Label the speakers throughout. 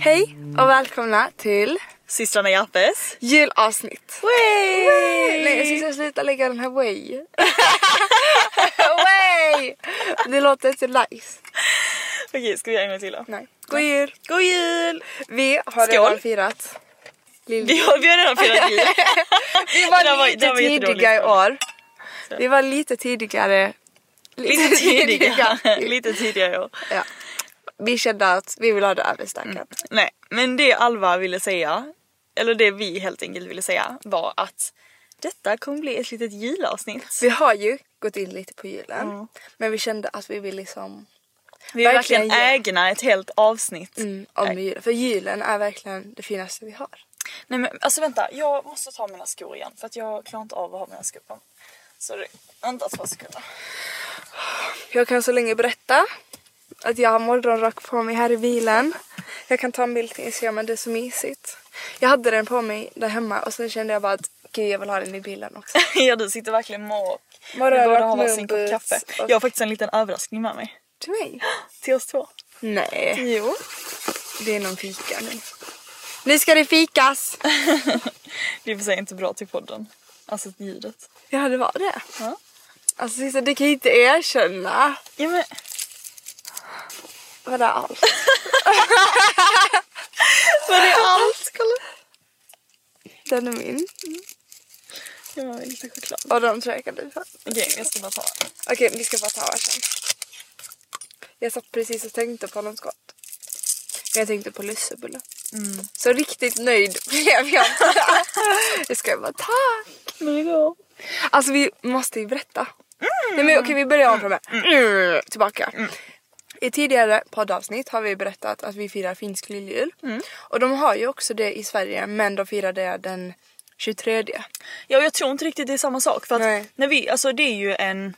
Speaker 1: Hej och välkomna till
Speaker 2: Systrarna Jappes.
Speaker 1: julavsnitt.
Speaker 2: Way!
Speaker 1: Nej jag ska sluta lägga den här way. way! Det låter inte nice.
Speaker 2: Okej, ska vi göra en gång till då?
Speaker 1: Nej. God jul!
Speaker 2: God jul!
Speaker 1: Vi har
Speaker 2: Skål.
Speaker 1: redan firat. Lill-
Speaker 2: Vi har, vi har redan firat jul.
Speaker 1: Vi
Speaker 2: Det där
Speaker 1: var
Speaker 2: var-
Speaker 1: lite
Speaker 2: det där var jättedåligt.
Speaker 1: tidiga i år. Vi var lite tidigare.
Speaker 2: Lite tidigare. Lite tidigare i år.
Speaker 1: ja. Vi kände att vi vill ha det överstökat.
Speaker 2: Nej, men det Alva ville säga, eller det vi helt enkelt ville säga var att detta kommer bli ett litet julavsnitt.
Speaker 1: Vi har ju gått in lite på julen. Men vi kände att vi vill liksom
Speaker 2: Vi är verkligen
Speaker 1: verkligen ju.
Speaker 2: ägna ett helt avsnitt.
Speaker 1: mm, om julen. För julen är verkligen det finaste vi har.
Speaker 2: Nej men alltså vänta, jag måste ta mina skor igen för att jag klarar inte av att ha mina skor på. Så det- vänta två sekunder.
Speaker 1: Jag kan så länge berätta att jag har morgonrock på mig här i bilen. Jag kan ta en bild till Instagram men det är så mysigt. Jag hade den på mig där hemma och sen kände jag bara att gud jag vill ha den i bilen också.
Speaker 2: ja du sitter verkligen måk. Vi
Speaker 1: Morgonrock,
Speaker 2: borde ha varsin kopp
Speaker 1: moonboots
Speaker 2: kaffe.
Speaker 1: och-
Speaker 2: Jag har faktiskt en liten överraskning med mig.
Speaker 1: Till mig?
Speaker 2: Till oss två.
Speaker 1: Nej,
Speaker 2: Jo.
Speaker 1: det är någon fika nu. Nu ska det fikas!
Speaker 2: Det är i och för sig inte bra till podden. Alltså ljudet.
Speaker 1: Ja det var det.
Speaker 2: Ja.
Speaker 1: Alltså Sissa, du kan ju inte erkänna.
Speaker 2: Ja, men,
Speaker 1: Var det allt?
Speaker 2: var det allt? Kolla.
Speaker 1: Den är min.
Speaker 2: Jag har lite choklad.
Speaker 1: Och de tror jag kan bli för.
Speaker 2: Okej, jag ska bara ta den.
Speaker 1: Okej, vi ska bara ta varsin. Jag satt precis och tänkte på något gott. Men jag tänkte på lussebullar.
Speaker 2: Mm.
Speaker 1: Så riktigt nöjd blev jag inte. Jag ska bara ta.
Speaker 2: Men det går.
Speaker 1: Alltså vi måste ju berätta.
Speaker 2: Mm.
Speaker 1: Nej men okej vi börjar om från början. Mm, Tillbaka. I tidigare poddavsnitt har vi berättat att vi firar finsk lilljul.
Speaker 2: Mm.
Speaker 1: Och de har ju också det i Sverige men de firar det den 23.
Speaker 2: Mm. Ja, och jag tror inte riktigt det är samma sak. För att
Speaker 1: Nej.
Speaker 2: när vi, alltså det är ju en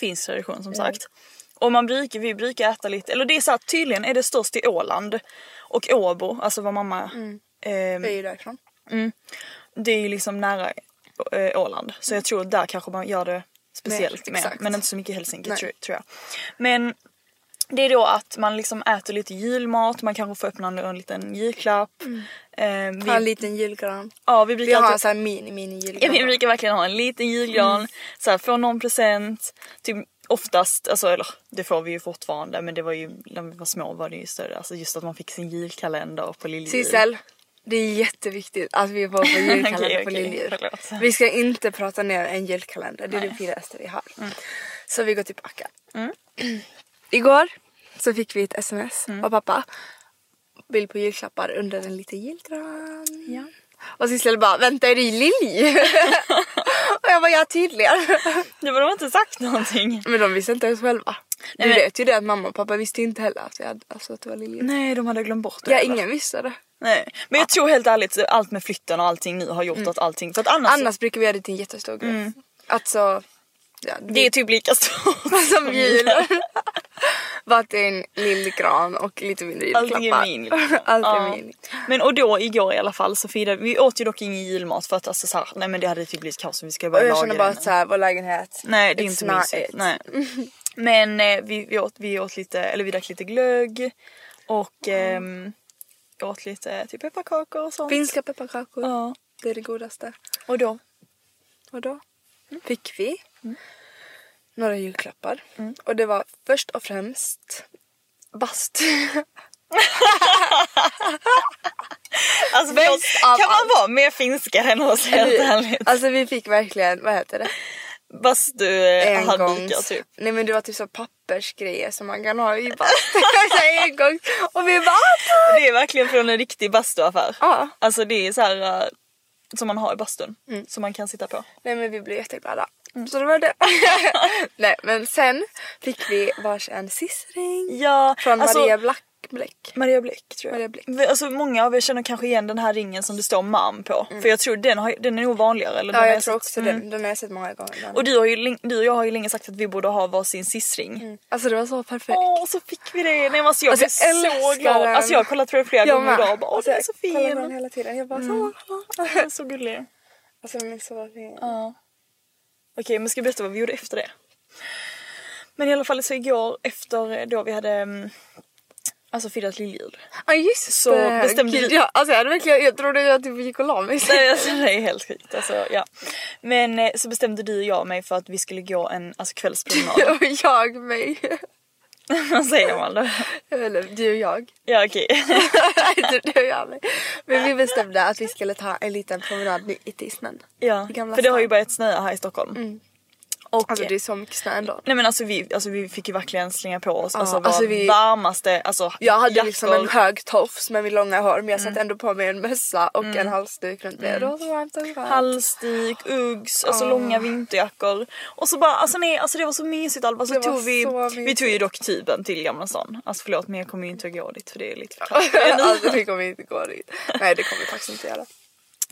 Speaker 2: finsk tradition som sagt. Och man brukar, vi brukar äta lite, eller det är så att tydligen är det störst i Åland. Och Åbo, alltså var mamma, ehm,
Speaker 1: Vi är ju därifrån.
Speaker 2: det är ju liksom nära eh, Åland. Så jag tror där kanske man gör det speciellt
Speaker 1: Mer,
Speaker 2: mer.
Speaker 1: Mm. exakt.
Speaker 2: Men inte så mycket i Helsinki
Speaker 1: Nej.
Speaker 2: tror, tror jag. Men det är då att man liksom äter lite julmat, man kanske får öppna en liten julklapp. Eh,
Speaker 1: Mm. Har en
Speaker 2: vi,
Speaker 1: liten julgran.
Speaker 2: ja, vi
Speaker 1: Vi
Speaker 2: brukar
Speaker 1: har en Mm.
Speaker 2: alltid-
Speaker 1: sån här mini mini julgran.
Speaker 2: Ja, vi brukar verkligen ha en liten julgran, så här, få någon present. Typ oftast, alltså, eller det får vi ju fortfarande men det var ju när vi var små var det ju större. Alltså just att man fick sin julkalender på lilljul.
Speaker 1: Sissel, det är jätteviktigt att vi får vår julkalender
Speaker 2: Okej,
Speaker 1: på
Speaker 2: okej,
Speaker 1: Lilljul.
Speaker 2: förlåt.
Speaker 1: Vi ska inte prata ner en julkalender, det är det finaste vi har.
Speaker 2: Mm.
Speaker 1: Så vi går tillbaka. Igår så fick vi ett sms
Speaker 2: Mm.
Speaker 1: av pappa. Bild på julklappar under en liten julgran. Och Sissel bara, vänta är det lilj? och jag här var jag tydligare.
Speaker 2: Nu har de inte sagt någonting.
Speaker 1: Men de visste inte ens själva. Du
Speaker 2: men- Mm.
Speaker 1: vet ju det att mamma och pappa visste inte heller att, vi hade, alltså, att det var Lilja.
Speaker 2: Nej, de hade glömt bort det.
Speaker 1: Ja,
Speaker 2: eller?
Speaker 1: ingen visste det.
Speaker 2: Nej. Men jag tror helt ärligt allt med flytten och allting nu har gjort att allting... För att annars,
Speaker 1: Mm.
Speaker 2: Mm.
Speaker 1: Annars brukar vi göra det till en jättestor grej. Alltså, ja,
Speaker 2: Det är typ lika stort
Speaker 1: som jul. Bara att det är en lill gran och lite mindre julklappar.
Speaker 2: Allting är min. liksom.
Speaker 1: Allt är
Speaker 2: Ja.
Speaker 1: min.
Speaker 2: Men och då igår i alla fall så firade vi, åt ju dock ingen julmat för att alltså så här, nej men det hade typ blivit kaos om vi skulle
Speaker 1: Och
Speaker 2: börja
Speaker 1: jag
Speaker 2: laga
Speaker 1: känner bara
Speaker 2: den.
Speaker 1: att så här, vår lägenhet.
Speaker 2: Nej det är
Speaker 1: it's
Speaker 2: inte
Speaker 1: not
Speaker 2: mysigt.
Speaker 1: it.
Speaker 2: Nej. Men eh, vi, vi, åt, vi åt lite, eller vi drack lite glögg och ehm, åt lite typ pepparkakor och sånt.
Speaker 1: Finska pepparkakor.
Speaker 2: Ja.
Speaker 1: Det är det godaste.
Speaker 2: Och då?
Speaker 1: Och då
Speaker 2: Mm.
Speaker 1: fick vi några julklappar.
Speaker 2: Mm.
Speaker 1: Och det var först och främst bast.
Speaker 2: Alltså
Speaker 1: Bäst
Speaker 2: förlåt,
Speaker 1: av
Speaker 2: kan man
Speaker 1: allt.
Speaker 2: vara mer finskare än oss helt ärligt?
Speaker 1: alltså vi fick verkligen, vad heter det?
Speaker 2: Bastuhanddukar
Speaker 1: Engångs.
Speaker 2: typ.
Speaker 1: Nej men det var typ så pappersgrejer som man kan ha i bast. Så här Engångs. Och vi bara "Ah,
Speaker 2: Det är verkligen från en riktig bastuaffär.
Speaker 1: Ja. Mm.
Speaker 2: Alltså det är så här eh, som man har i bastun. Som man kan sitta på.
Speaker 1: Nej men vi blev jätteglada.
Speaker 2: Mm.
Speaker 1: Så det var det. Nej men sen fick vi varsin sissring.
Speaker 2: Ja,
Speaker 1: Från
Speaker 2: alltså-
Speaker 1: Maria Black. Bläck.
Speaker 2: Maria Bläck tror jag.
Speaker 1: Maria Bläck.
Speaker 2: Vi- Alltså, många av er känner kanske igen den här ringen som det står mam på. För jag tror den, har, den är nog vanligare. Eller
Speaker 1: Mm. Ja
Speaker 2: den har
Speaker 1: jag tror
Speaker 2: sett-
Speaker 1: också
Speaker 2: Mm.
Speaker 1: den. Den har jag sett många gånger. Den.
Speaker 2: Och du, har ju, lin- du och jag har ju länge sagt att vi borde ha varsin sissring.
Speaker 1: Alltså det var så perfekt.
Speaker 2: Åh, så fick vi det! Nej, men alltså, jag
Speaker 1: Alltså, jag
Speaker 2: blev så
Speaker 1: älskar
Speaker 2: glad.
Speaker 1: den.
Speaker 2: Alltså, jag har kollat på det flera gånger idag och bara, åh
Speaker 1: Alltså,
Speaker 2: den är så Mm.
Speaker 1: jag kollar på den
Speaker 2: fin.
Speaker 1: hela tiden. Jag bara så.
Speaker 2: Den är så gullig.
Speaker 1: Alltså den är så fin.
Speaker 2: Ja. Okej, men ska jag berätta vad vi gjorde efter det? Men i alla fall så igår efter eh, då vi hade mm, alltså firat lilljul.
Speaker 1: Ja just
Speaker 2: Så
Speaker 1: det.
Speaker 2: bestämde
Speaker 1: Gud,
Speaker 2: vi-
Speaker 1: jag, alltså, jag, hade verkligen, jag trodde jag typ gick och la mig.
Speaker 2: Nej, alltså, det är helt sjukt. Alltså, ja. Men eh, så bestämde du och jag mig för att vi skulle gå en alltså, kvällspromenad.
Speaker 1: och jag mig.
Speaker 2: Vad säger man då?
Speaker 1: Eller du och jag.
Speaker 2: Ja okej.
Speaker 1: Inte du och jag mig. Men vi bestämde att vi skulle ta en liten promenad ute i snön.
Speaker 2: Ja.
Speaker 1: I Gamla
Speaker 2: För det har ju
Speaker 1: stan. Mm.
Speaker 2: börjat snöa här i Stockholm. Och,
Speaker 1: Alltså det är så mycket snö ändå.
Speaker 2: Nej men alltså vi, alltså vi fick ju verkligen slänga på oss
Speaker 1: Ja,
Speaker 2: alltså,
Speaker 1: alltså,
Speaker 2: våra
Speaker 1: vi-
Speaker 2: varmaste alltså,
Speaker 1: Jag hade liksom en
Speaker 2: jackor.
Speaker 1: hög tofs med min långa hår men jag
Speaker 2: Mm.
Speaker 1: satte ändå på mig en mössa och en halsduk runt mig. Det var så varmt och skönt.
Speaker 2: Halsduk, Uggs, alltså
Speaker 1: Ah.
Speaker 2: långa vinterjackor. Och så bara, alltså nej, alltså det var så mysigt Alva. Så
Speaker 1: Det var
Speaker 2: tog vi,
Speaker 1: så
Speaker 2: vi
Speaker 1: mysigt.
Speaker 2: tog ju dock tuben till Gamla stan. Alltså förlåt men jag kommer ju inte att gå dit för det är lite för kallt.
Speaker 1: alltså det kommer inte gå dit. Nej det kommer vi faktiskt inte göra.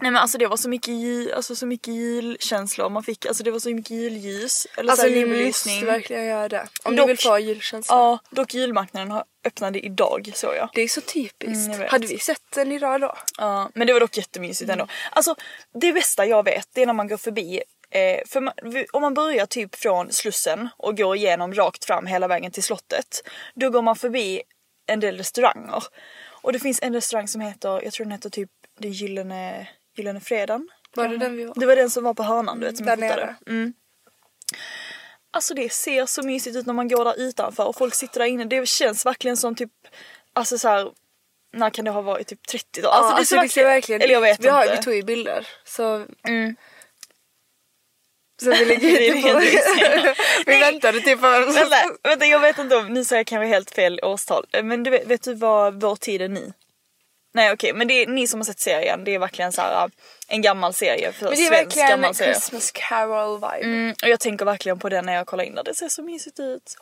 Speaker 2: Nej men alltså det var så mycket, jul, alltså, så mycket julkänsla och man fick, alltså det var så mycket julljus. Eller
Speaker 1: Alltså
Speaker 2: så här,
Speaker 1: ni
Speaker 2: julbelysning.
Speaker 1: måste verkligen göra det. Om ni
Speaker 2: Dock-
Speaker 1: vill få julkänsla.
Speaker 2: Ja, dock julmarknaden har, öppnade idag såg jag.
Speaker 1: Det är så typiskt.
Speaker 2: Mm, jag vet.
Speaker 1: Hade vi sett den idag då?
Speaker 2: Ja, men det var dock jättemysigt ändå. Alltså det bästa jag vet det är när man går förbi Eh, för man, vi- om man börjar typ från Slussen och går igenom rakt fram hela vägen till slottet. Då går man förbi en del restauranger. Och det finns en restaurang som heter, jag tror den heter typ det gyllene, gyllene fredagen.
Speaker 1: Var det den vi åt?
Speaker 2: Det var den som var på hörnan du vet som
Speaker 1: Där
Speaker 2: jag fotade.
Speaker 1: nere.
Speaker 2: Mm. Alltså det ser så mysigt ut när man går där utanför och folk sitter där inne. Det känns verkligen som typ, alltså så här, när kan det ha varit? Typ 30 dagar?
Speaker 1: ja, alltså, det ser verkligen
Speaker 2: Eller jag vet
Speaker 1: vi, har,
Speaker 2: inte. Mm.
Speaker 1: vi tog ju bilder så... Så vi ligger
Speaker 2: Det är
Speaker 1: inte på...
Speaker 2: det
Speaker 1: vi väntade typ på vem som...
Speaker 2: Vänta, vänta, jag vet inte om, nu säger jag kanske helt fel årstal. Men du vet, vet du vad vår tid är ni? Nej okej, men det är ni som har sett serien. Det är verkligen så här äh, en gammal serie. För
Speaker 1: Men det är
Speaker 2: svensk
Speaker 1: verkligen
Speaker 2: gammal serie.
Speaker 1: Christmas carol vibe.
Speaker 2: Mm, och jag tänker verkligen på den när jag kollar in där. Det ser så mysigt ut.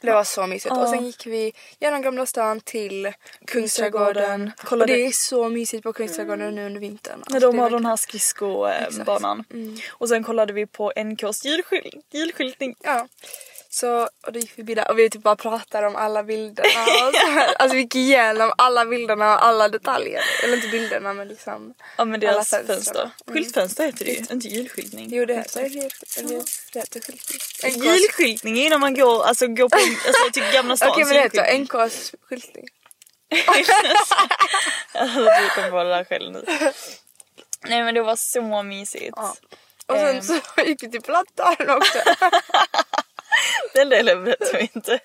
Speaker 1: Det var så mysigt. Och sen gick vi genom Gamla stan till Kungsträdgården.
Speaker 2: Kolla
Speaker 1: Och det
Speaker 2: det.
Speaker 1: är så mysigt på Kungsträdgården nu under vintern.
Speaker 2: När
Speaker 1: Alltså,
Speaker 2: de
Speaker 1: det är
Speaker 2: har den
Speaker 1: verkligen- Mm.
Speaker 2: här skridskobanan. Och sen kollade vi på NKs julskyl- julskyltning.
Speaker 1: Ja. Så, och då gick vi där och vi typ bara pratade om alla bilderna. Och så här. Alltså vi gick igenom alla bilderna och alla detaljer. Eller inte bilderna men liksom.
Speaker 2: Ja men
Speaker 1: alla
Speaker 2: deras
Speaker 1: fönster.
Speaker 2: fönster.
Speaker 1: Mm.
Speaker 2: Skyltfönster heter det ju, inte julskyltning.
Speaker 1: Jo det heter
Speaker 2: Fönster.
Speaker 1: jul- det heter skyltning. NKs
Speaker 2: Julskyltning är ju när man går, alltså, går på alltså, till Gamla stans
Speaker 1: Okej men det heter
Speaker 2: julskyltning.
Speaker 1: NKs skyltning.
Speaker 2: du kommer på det där själv nu. Nej men det var så mysigt.
Speaker 1: Ja. Och sen
Speaker 2: Ehm.
Speaker 1: så gick vi till Plattan också.
Speaker 2: Den delen berättar vi inte.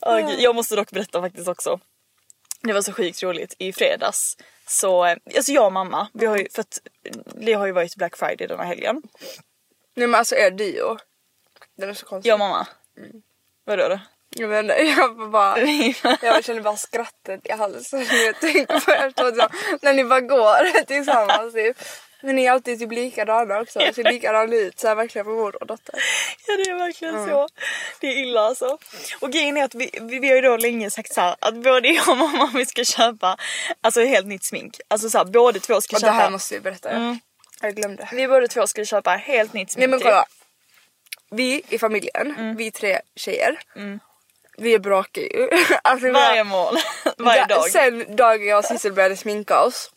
Speaker 2: Åh, gud. jag måste dock berätta faktiskt också. Det var så sjukt roligt i fredags. Så, eh, alltså jag och mamma, vi har ju, för att det har ju varit Black Friday den här helgen.
Speaker 1: Nej men alltså er dio. Den är så konstig.
Speaker 2: Jag och mamma. Vadå då?
Speaker 1: Jag vet inte, jag var bara... Jag känner bara skrattet i halsen när jag tänker på er två tillsammans. När ni bara går tillsammans typ. Men ni är alltid typ likadana också. Ser likadana ut. Så här verkligen på mor och dotter.
Speaker 2: Ja det är verkligen så. Det är illa alltså. Och grejen är att vi, vi, vi har ju då länge sagt så här, att både jag och mamma vi ska köpa alltså helt nytt smink. Alltså så här, båda två ska
Speaker 1: Och det
Speaker 2: köpa.
Speaker 1: här måste vi berätta.
Speaker 2: Mm.
Speaker 1: Jag glömde.
Speaker 2: Vi båda två ska köpa helt nytt smink. typ.
Speaker 1: Nej men
Speaker 2: till.
Speaker 1: kolla. Vi i familjen,
Speaker 2: Mm.
Speaker 1: vi tre tjejer. Vi är bråkiga ju. Alltså, vi har-
Speaker 2: Varje mål. Varje
Speaker 1: Da-
Speaker 2: dag.
Speaker 1: Sen dagen jag och Sissel började sminka oss.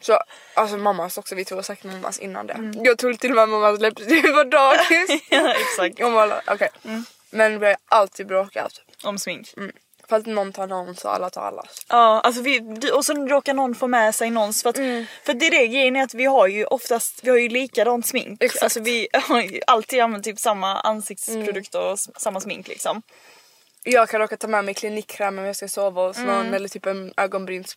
Speaker 1: Så, alltså mammas också, vi tog säkert mammas innan det. Jag tog till och med mammas läppstift på dagis.
Speaker 2: Mm. Ja exakt.
Speaker 1: Hon
Speaker 2: Mm.
Speaker 1: var okej. Men vi började alltid bråka. Alltså.
Speaker 2: Om smink.
Speaker 1: För att någon tar någon så alla tar allas.
Speaker 2: Ja, alltså vi, du- och sen råkar någon få med sig någons för att,
Speaker 1: Mm.
Speaker 2: för att det är det grejen är att vi har ju oftast, vi har ju likadant smink.
Speaker 1: Exakt.
Speaker 2: Alltså vi har ju alltid använt typ samma ansiktsprodukter
Speaker 1: Mm.
Speaker 2: och s- samma smink liksom.
Speaker 1: Jag kan råka ta med mig klinikkräm om jag ska sova hos
Speaker 2: Mm.
Speaker 1: någon eller typ en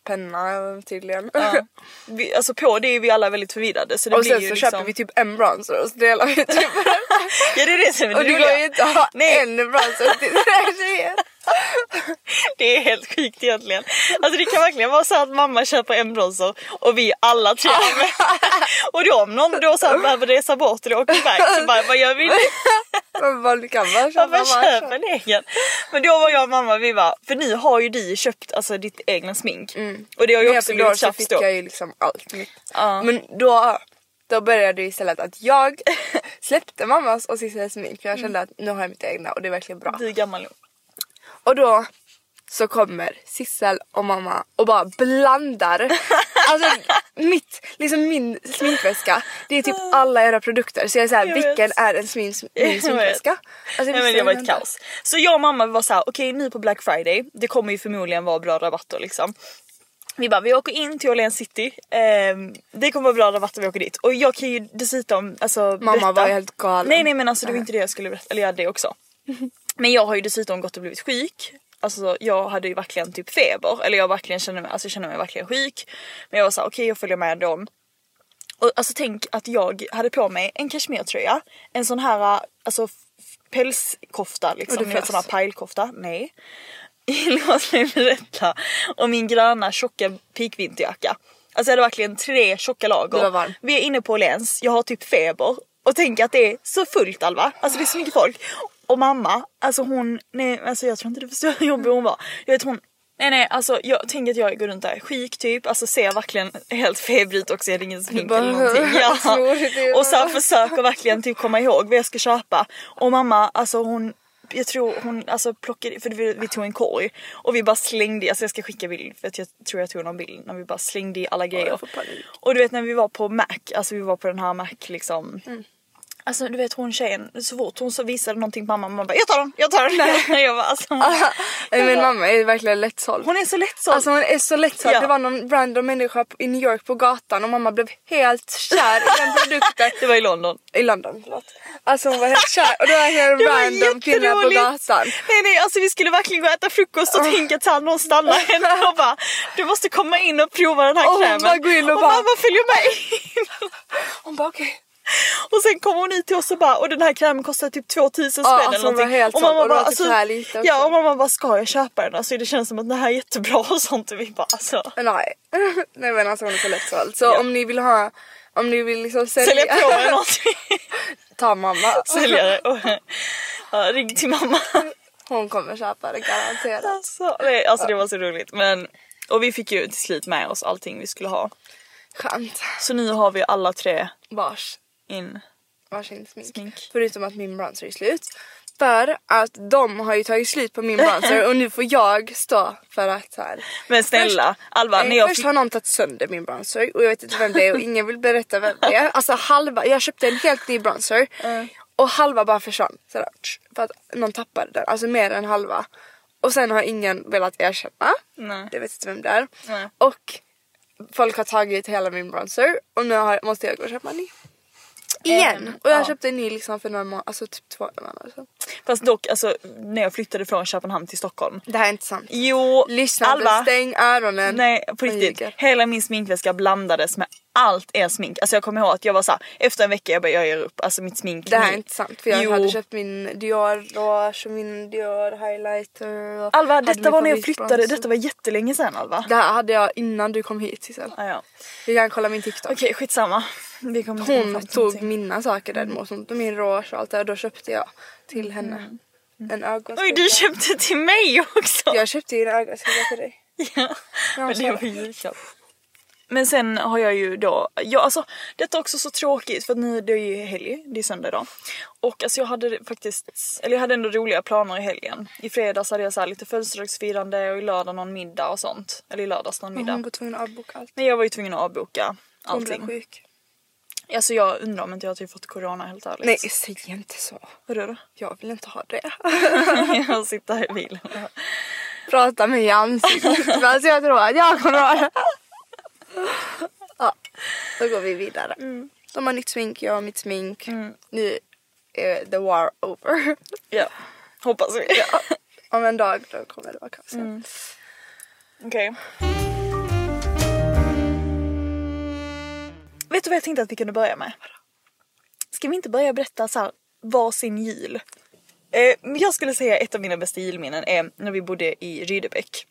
Speaker 1: ögonbrynspenna tydligen.
Speaker 2: Vi, alltså på det är vi alla väldigt förvirrade så det
Speaker 1: och
Speaker 2: blir
Speaker 1: sen så
Speaker 2: ju
Speaker 1: köper
Speaker 2: liksom...
Speaker 1: vi typ en bronzer och så delar vi typ.
Speaker 2: Ja det är det som är
Speaker 1: och
Speaker 2: det
Speaker 1: det går ju
Speaker 2: roliga.
Speaker 1: inte att ha
Speaker 2: Nej.
Speaker 1: en bronzer till tre tjejer.
Speaker 2: Det är helt sjukt egentligen. Alltså det kan verkligen vara så att mamma köper en bronzer och vi alla tre använder. Och då om någon då så här behöver resa bort eller åka iväg så bara vad gör vi nu?
Speaker 1: Men vad du kan bara köpa.
Speaker 2: Pappa
Speaker 1: bara
Speaker 2: köp en egen. Men då var jag och mamma vi var för ni har ju du köpt alltså ditt egna smink. Och det har ju
Speaker 1: När Mm. jag fyllde år
Speaker 2: också blivit
Speaker 1: så
Speaker 2: tjafs
Speaker 1: fick
Speaker 2: då.
Speaker 1: jag ju liksom allt mitt. Men då, då började det istället att jag släppte mammas och Sissels smink för jag kände
Speaker 2: Mm.
Speaker 1: att nu har jag mitt egna och det är verkligen bra.
Speaker 2: Du är gammal nu.
Speaker 1: Och då så kommer Sissel och mamma och bara blandar. Alltså mitt, liksom min sminkväska, det är typ alla era produkter. Så jag är såhär,
Speaker 2: Ah. Jag
Speaker 1: vilken
Speaker 2: vet.
Speaker 1: är en smin,
Speaker 2: Jag
Speaker 1: min
Speaker 2: vet.
Speaker 1: sminkväska? Alltså,
Speaker 2: Nej, men
Speaker 1: visste
Speaker 2: det var ett
Speaker 1: inte.
Speaker 2: kaos. Så jag och mamma var så här, okej nu på Black Friday, det kommer ju förmodligen vara bra rabatter liksom. Vi bara, vi åker in till Åhléns city, ehm, det kommer vara bra rabatter vi åker dit. Och jag kan ju dessutom alltså,
Speaker 1: Mamma
Speaker 2: berätta.
Speaker 1: var helt galen.
Speaker 2: Nej nej men alltså det var inte det jag skulle berätta, eller jag hade det också. Men jag har ju dessutom gått och blivit sjuk. Alltså jag hade ju verkligen typ feber, eller jag verkligen kände mig, alltså, jag kände mig verkligen sjuk. Men jag var såhär, okej jag följer med dem. Och alltså tänk att jag hade på mig en kashmirtröja, en sån här alltså f- pälskofta
Speaker 1: Och
Speaker 2: liksom,
Speaker 1: du
Speaker 2: ni vet, sån här
Speaker 1: frös.
Speaker 2: pajlkofta. Nej. Låt mig berätta om min gröna tjocka pikvinterjacka. Alltså jag hade verkligen tre tjocka lager.
Speaker 1: Du var varm.
Speaker 2: Vi är inne på Åhléns, jag har typ feber och tänk att det är så fullt Alva. Alltså det är så mycket folk. Och mamma, alltså hon, nej alltså jag tror inte du förstår hur jobbig hon var. Jag vet hon, nej nej alltså jag tänker att jag går runt där sjuk typ, alltså ser verkligen helt feber ut också, jag hade ingen smink eller
Speaker 1: bara-
Speaker 2: någonting. Ja.
Speaker 1: tror det.
Speaker 2: Och så här försöker verkligen typ komma ihåg vad jag ska köpa. Och mamma, alltså hon jag tror hon alltså plockade, för vi, vi tog en korg och vi bara slängde, alltså jag ska skicka bild för att jag tror jag tog någon bild när vi bara slängde i alla grejer.
Speaker 1: jag får panik.
Speaker 2: och du vet när vi var på Mac, alltså vi var på den här Mac liksom.
Speaker 1: Mm.
Speaker 2: Alltså du vet hon tjejen, så fort hon så visade någonting på mamma, mamma bara jag tar den, jag tar den. Nej. jag bara, alltså,
Speaker 1: Nej, Min mamma är verkligen lättsåld.
Speaker 2: hon är så lättsåld.
Speaker 1: Alltså hon är så lättsåld.
Speaker 2: Ja.
Speaker 1: Det var någon random människa på- i New York på gatan och mamma blev helt kär i den produkten.
Speaker 2: det var i London.
Speaker 1: I London, förlåt. Alltså hon var helt kär och då var det en
Speaker 2: Det var
Speaker 1: random kille på
Speaker 2: jättedåligt.
Speaker 1: gatan. Oh.
Speaker 2: Nej nej alltså vi skulle verkligen gå och äta frukost och tänka att så här, någon stannar henne och bara du måste komma in och prova den här
Speaker 1: Och hon
Speaker 2: krämen.
Speaker 1: bara går in och
Speaker 2: och
Speaker 1: bara-
Speaker 2: mamma följer med in.
Speaker 1: Hon bara okej.
Speaker 2: Och sen kommer hon hit till oss och bara och den här krämen kostar typ 2000 spänn
Speaker 1: Ja, alltså
Speaker 2: eller
Speaker 1: hon var
Speaker 2: någonting.
Speaker 1: helt
Speaker 2: och "Alltså,
Speaker 1: såld. Och det var typ så här lite också.
Speaker 2: Ja och mamma bara ska jag köpa den? Alltså det känns som att den här är jättebra och sånt och vi bara alltså
Speaker 1: Nej. Nej men alltså hon är så lättsåld. Så om ni vill ha, om ni vill liksom sälja,
Speaker 2: sälja på den någonting.
Speaker 1: ta mamma.
Speaker 2: Sälja det och ja, ring till mamma.
Speaker 1: Hon kommer köpa det garanterat.
Speaker 2: Alltså, nej, alltså det var så roligt men och vi fick ju till slut med oss allting vi skulle ha.
Speaker 1: Skönt.
Speaker 2: Så nu har vi alla tre
Speaker 1: Vars.
Speaker 2: in.
Speaker 1: varsin smink.
Speaker 2: Smink.
Speaker 1: Förutom att min bronzer är slut. För att de har ju tagit slut på min bronzer och nu får jag stå för att så här.
Speaker 2: Men snälla Alva,
Speaker 1: Eh,
Speaker 2: när jag
Speaker 1: Först
Speaker 2: fick...
Speaker 1: har någon tagit sönder min bronzer och jag vet inte vem det är och ingen vill berätta vem det är. Alltså halva, jag köpte en helt ny bronzer
Speaker 2: Mm.
Speaker 1: och halva bara försvann. Sådär, tsch, för att någon tappade den, alltså mer än halva. Och sen har ingen velat erkänna.
Speaker 2: Nej.
Speaker 1: Jag vet inte vem det är.
Speaker 2: Nej.
Speaker 1: Och folk har tagit hela min bronzer och nu har, måste jag gå och köpa en ny.
Speaker 2: Ehm,
Speaker 1: Igen! Och jag köpte en ny liksom för några månader, alltså typ två månader sedan.
Speaker 2: Fast dock alltså när jag flyttade från Köpenhamn till Stockholm.
Speaker 1: Det här är inte sant.
Speaker 2: Jo,
Speaker 1: Lyssna inte,
Speaker 2: Alva.
Speaker 1: stäng öronen.
Speaker 2: Nej på
Speaker 1: Hon
Speaker 2: riktigt.
Speaker 1: ljuger.
Speaker 2: Hela min sminkväska blandades med allt är smink. Alltså jag kommer ihåg att jag var så här, efter en vecka jag bara jag ger upp. Alltså mitt smink.
Speaker 1: Det här är
Speaker 2: nu.
Speaker 1: inte sant för jag
Speaker 2: Jo.
Speaker 1: hade köpt min Dior Rouge och min Dior highlighter. Och
Speaker 2: Alva
Speaker 1: hade
Speaker 2: detta
Speaker 1: min
Speaker 2: var när jag
Speaker 1: favoritbrons.
Speaker 2: flyttade, detta var jättelänge sedan Alva.
Speaker 1: Det här hade jag innan du kom hit Sissel.
Speaker 2: Ah, ja.
Speaker 1: Vi kan kolla min TikTok.
Speaker 2: Okej skitsamma. Vi kommer inte komma fram
Speaker 1: Hon
Speaker 2: till
Speaker 1: tog
Speaker 2: någonting. Mm.
Speaker 1: mina saker däremot. Hon tog min rouge och allt det och då köpte jag till henne. En ögonskugga.
Speaker 2: Mm. Alltså, Oj du köpte till mig också!
Speaker 1: Jag köpte ju en ögonskugga till dig.
Speaker 2: Ja.
Speaker 1: Ja,
Speaker 2: Men
Speaker 1: så
Speaker 2: det
Speaker 1: är
Speaker 2: var
Speaker 1: det.
Speaker 2: ju julklapp. Men sen har jag ju då, ja alltså detta är också så tråkigt för att nu det är ju helg, det är söndag idag. Och alltså jag hade faktiskt, eller jag hade ändå roliga planer i helgen. I fredags hade jag så här lite födelsedagsfirande och i lördag någon middag och sånt. Eller i lördags någon
Speaker 1: Men
Speaker 2: middag.
Speaker 1: hon var tvungen att avboka allt.
Speaker 2: Men jag var ju tvungen att avboka
Speaker 1: Hon blev
Speaker 2: allting.
Speaker 1: sjuk.
Speaker 2: Alltså jag undrar om inte jag typ fått corona helt ärligt.
Speaker 1: Nej säg inte så.
Speaker 2: Vadå då?
Speaker 1: Jag vill inte ha det.
Speaker 2: jag sitter här i bilen.
Speaker 1: Prata med Jans. alltså jag tror att jag kommer ha det. ja, då går vi vidare.
Speaker 2: Mm.
Speaker 1: De har nytt smink, jag har mitt smink. Nu är the war over.
Speaker 2: Ja, hoppas vi.
Speaker 1: Om en dag då kommer det vara kaos. igen.
Speaker 2: Mm. Okej. Vet du vad jag tänkte att vi kunde börja med? Ska vi inte börja berätta så här, varsin jul? Eh, men jag skulle säga ett av mina bästa julminnen är när vi bodde i Rydebäck.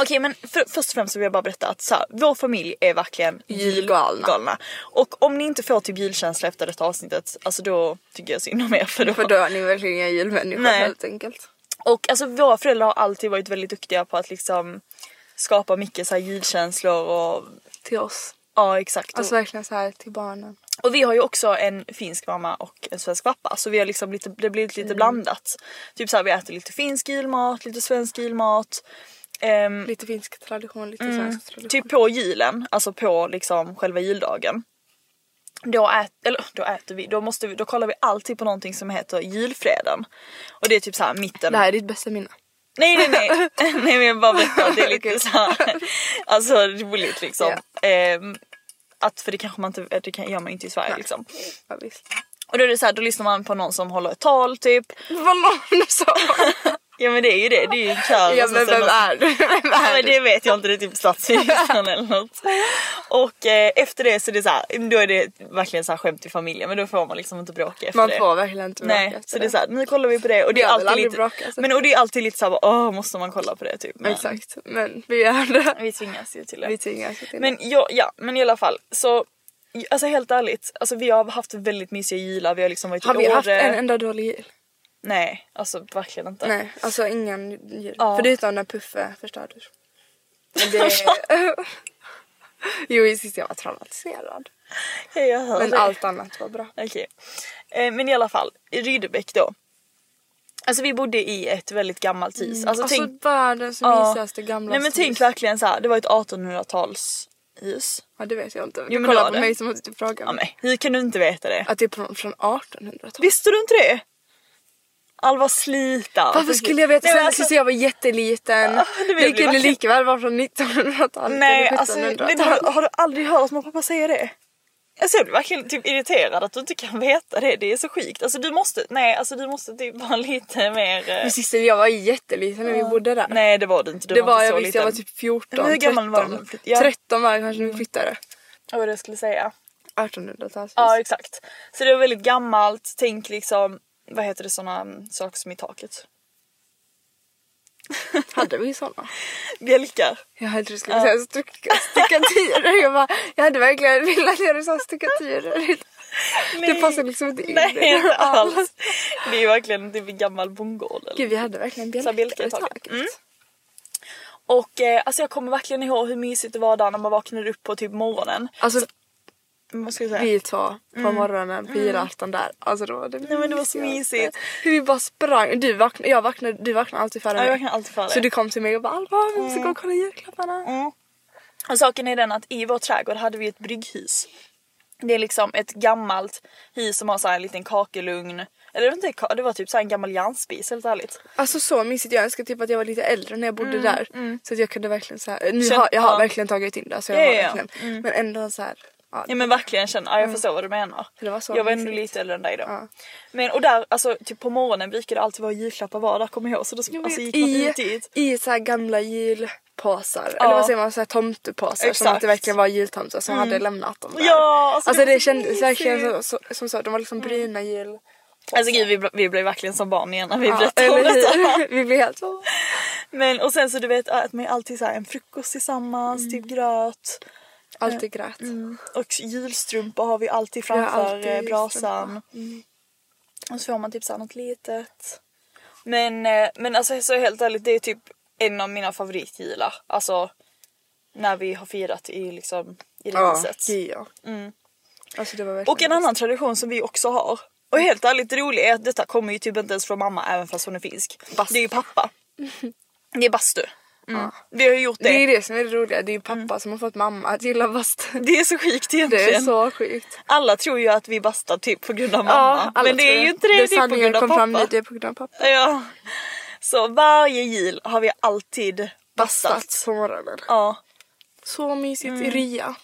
Speaker 2: Okej men för, först och främst så vill jag bara berätta att så här, vår familj är verkligen
Speaker 1: Julgalna.
Speaker 2: julgalna. Och om ni inte får typ julkänsla efter detta avsnittet, alltså då tycker jag synd om er för då,
Speaker 1: För då är ni verkligen inga julmänniskor
Speaker 2: Nej.
Speaker 1: helt enkelt.
Speaker 2: och alltså våra föräldrar har alltid varit väldigt duktiga på att liksom skapa mycket så här julkänslor och
Speaker 1: Till oss.
Speaker 2: ja exakt.
Speaker 1: Alltså
Speaker 2: och,
Speaker 1: verkligen så här till barnen.
Speaker 2: och vi har ju också en finsk mamma och en svensk pappa så vi har liksom lite, det har blivit
Speaker 1: Mm.
Speaker 2: lite blandat. Typ så här, vi äter lite finsk julmat, lite svensk julmat. Ehm,
Speaker 1: Lite finsk tradition, lite svensk tradition.
Speaker 2: typ på julen, alltså på liksom själva juldagen. Då, ät, eller, då äter vi, då, måste vi, då kollar vi alltid på någonting som heter julfreden. Och det är typ så här mitten.
Speaker 1: Det här är ditt bästa minne.
Speaker 2: Nej nej nej. nej men jag bara berättar att det är lite
Speaker 1: Okej.
Speaker 2: såhär alltså roligt liksom.
Speaker 1: Ja.
Speaker 2: Ehm, att för det kanske man inte, eh, det kan, gör man ju inte i Sverige liksom.
Speaker 1: Ja, visst.
Speaker 2: Och då är det såhär, då lyssnar man på någon som håller ett tal typ.
Speaker 1: Vad någon sa.
Speaker 2: Ja men det är ju det, det är ju en kör.
Speaker 1: ja
Speaker 2: och så
Speaker 1: men
Speaker 2: sen
Speaker 1: vem är du? Vem
Speaker 2: Ja,
Speaker 1: är
Speaker 2: men
Speaker 1: du?
Speaker 2: det vet jag inte, det är typ statsministern eller något. Och eh, efter det så är det så här, då är det verkligen så här skämt i familjen men då får man liksom inte bråka efter
Speaker 1: Man
Speaker 2: det.
Speaker 1: får verkligen inte
Speaker 2: Nej,
Speaker 1: bråka efter
Speaker 2: så det är
Speaker 1: det.
Speaker 2: så här, nu kollar vi på det och det är
Speaker 1: Jag vill
Speaker 2: alltid
Speaker 1: aldrig
Speaker 2: lite,
Speaker 1: bråka, alltså.
Speaker 2: men, och det är alltid lite såhär, åh måste man kolla på det typ. Men
Speaker 1: Exakt, men vi gör det.
Speaker 2: Vi tvingas ju till det.
Speaker 1: Vi tvingas ju till
Speaker 2: Men ja, ja, men i alla fall så Alltså helt ärligt, alltså vi har haft väldigt mysiga jular, vi har liksom varit
Speaker 1: Har
Speaker 2: i
Speaker 1: vi
Speaker 2: Åre.
Speaker 1: haft en enda dålig jul?
Speaker 2: Nej, alltså verkligen inte.
Speaker 1: Nej, alltså ingen jul.
Speaker 2: Ja. Alltså.
Speaker 1: Förutom när Puffe förstördes. Men det... jo, sist jag var traumatiserad.
Speaker 2: Hej, jag hör
Speaker 1: Men
Speaker 2: dig.
Speaker 1: allt annat var bra.
Speaker 2: Okej. Eh, men i alla fall, i Rydebäck då. Alltså vi bodde i ett väldigt gammalt hus. Alltså,
Speaker 1: Alltså
Speaker 2: tänk,
Speaker 1: världens
Speaker 2: ja.
Speaker 1: mysigaste gamla
Speaker 2: Nej men tänk
Speaker 1: hus.
Speaker 2: verkligen så här, det var ett 1800-talshus.
Speaker 1: Ja det vet jag inte. Du
Speaker 2: Jo, men det
Speaker 1: kollar
Speaker 2: var
Speaker 1: på
Speaker 2: det.
Speaker 1: mig som att du frågar
Speaker 2: Ja
Speaker 1: mig.
Speaker 2: men hur kan du inte veta det?
Speaker 1: Att det är från, från 1800-talet.
Speaker 2: Visste du inte det? Alva slita.
Speaker 1: Varför skulle jag veta?
Speaker 2: Nej, men
Speaker 1: Sen
Speaker 2: alltså-
Speaker 1: sist jag var jätteliten.
Speaker 2: det vet
Speaker 1: det
Speaker 2: vi
Speaker 1: kunde
Speaker 2: verkligen.
Speaker 1: lika väl vara från 1900-talet.
Speaker 2: Nej,
Speaker 1: eller
Speaker 2: alltså, nej, men har,
Speaker 1: 1700-talet.
Speaker 2: du- har du aldrig hört mamma och pappa säga det? Alltså jag blir verkligen typ irriterad att du inte kan veta det, det är så sjukt. Alltså du måste, nej alltså du måste typ vara lite mer... eh,
Speaker 1: Men sist jag var jätteliten när vi bodde där.
Speaker 2: Nej det var du inte, du
Speaker 1: det
Speaker 2: var,
Speaker 1: var
Speaker 2: inte
Speaker 1: jag
Speaker 2: så
Speaker 1: visst,
Speaker 2: liten.
Speaker 1: jag var typ 14,
Speaker 2: Men hur gammal
Speaker 1: 13.
Speaker 2: var man? Ja.
Speaker 1: 13 var jag kanske när vi flyttade.
Speaker 2: Vad var det jag skulle säga?
Speaker 1: 1800-talet.
Speaker 2: Ja exakt. Så det var väldigt gammalt, tänk liksom, vad heter det såna mm, saker som i taket?
Speaker 1: Hade vi sådana?
Speaker 2: Bjälkar.
Speaker 1: Jag hade du skulle säga stuck- stuckaturer. Jag, bara, jag hade verkligen velat göra sådana stuckaturer. Det passar liksom inte in.
Speaker 2: Nej inte alls. Det är ju verkligen typ en gammal bondgård. eller?
Speaker 1: Gud vi hade verkligen
Speaker 2: Så här bjälkar
Speaker 1: bjälkar
Speaker 2: i
Speaker 1: i
Speaker 2: taket.
Speaker 1: taket.
Speaker 2: Mm. Och eh, alltså jag kommer verkligen ihåg hur mysigt det var där när man vaknade upp på typ morgonen.
Speaker 1: Alltså
Speaker 2: Mm, Vad ska jag säga?
Speaker 1: vi två på morgonen på julafton där. Alltså då var det
Speaker 2: Mm. Nej, men det var så
Speaker 1: mysigaste.
Speaker 2: mysigt.
Speaker 1: Hur vi bara sprang. Du vaknade, jag vaknade, du vaknade alltid före
Speaker 2: jag
Speaker 1: mig.
Speaker 2: vaknade alltid före.
Speaker 1: Så du kom till mig och bara Alva vi måste gå och kolla julklapparna.
Speaker 2: Mm. Och saken är den att i vår trädgård hade vi ett brygghus. Det är liksom ett gammalt hus som har så här en liten kakelugn. Eller det var, inte, ka- det var typ så här en gammal järnspis helt ärligt.
Speaker 1: Alltså så mysigt. Jag önskar typ att jag var lite äldre när jag bodde
Speaker 2: Mm,
Speaker 1: där. Så att jag kunde verkligen så här. Nu
Speaker 2: Känn-
Speaker 1: har, jag
Speaker 2: ja.
Speaker 1: har verkligen tagit in det. Så jag
Speaker 2: Ja,
Speaker 1: har
Speaker 2: ja, ja.
Speaker 1: verkligen, Men ändå så här. Ja,
Speaker 2: Ja men verkligen känner, ja, jag förstår vad du menar.
Speaker 1: Mm. Det var så
Speaker 2: jag var ändå
Speaker 1: mysigt.
Speaker 2: lite äldre än dig då.
Speaker 1: Ja.
Speaker 2: Men och där, alltså typ på morgonen brukade det alltid vara julklappar var där kommer jag ihåg. Så då
Speaker 1: Jag
Speaker 2: alltså,
Speaker 1: vet,
Speaker 2: gick man
Speaker 1: I,
Speaker 2: ut dit.
Speaker 1: i så här gamla jul påsar.
Speaker 2: Ja.
Speaker 1: Eller vad säger man? Så här, tomtepåsar. Som
Speaker 2: Exakt. Mm.
Speaker 1: att det verkligen var jultomtar som hade lämnat dem där.
Speaker 2: Ja, alltså
Speaker 1: alltså,
Speaker 2: det
Speaker 1: det,
Speaker 2: var så
Speaker 1: kändes
Speaker 2: mysigt. Mm.
Speaker 1: verkligen så, så, som så. De var liksom bruna jul.
Speaker 2: Alltså gud vi, vi blev verkligen som barn igen när vi
Speaker 1: Ja,
Speaker 2: berättade om
Speaker 1: eller
Speaker 2: detta.
Speaker 1: hur? Vi blev helt så.
Speaker 2: Men och sen så du vet att man är alltid så här en frukost tillsammans, typ
Speaker 1: Mm.
Speaker 2: gröt
Speaker 1: Alltid grät.
Speaker 2: Mm. och julstrumpor har vi alltid framför
Speaker 1: alltid
Speaker 2: eh, brasan. Och så får man typ så här något litet. Men, eh, men alltså så helt ärligt det är typ en av mina favoritjular. Alltså när vi har firat i liksom i det
Speaker 1: Ja,
Speaker 2: huset.
Speaker 1: ja. Alltså det var verkligen
Speaker 2: Och en annan tradition som vi också har. Och helt ärligt det roliga är att detta kommer ju typ inte ens från mamma även fast hon är finsk. Det är ju pappa. Det är bastu. Mm. Vi har ju gjort
Speaker 1: Det är ju det som är det roliga. Det är ju pappa
Speaker 2: Mm.
Speaker 1: som har fått mamma att gilla bastun.
Speaker 2: Det är så sjukt egentligen.
Speaker 1: Det är så sjukt.
Speaker 2: Alla tror ju att vi bastar typ på grund av mamma.
Speaker 1: alla
Speaker 2: men det är
Speaker 1: tror
Speaker 2: ju inte det, det är på
Speaker 1: sanningen
Speaker 2: grund av
Speaker 1: kom
Speaker 2: pappa.
Speaker 1: Fram typ- nu, det är på grund av pappa.
Speaker 2: Ja. Så varje jul har vi alltid
Speaker 1: Bastat
Speaker 2: bastat.
Speaker 1: på morgonen. Mm.
Speaker 2: Ja.
Speaker 1: Så mysigt i Ria.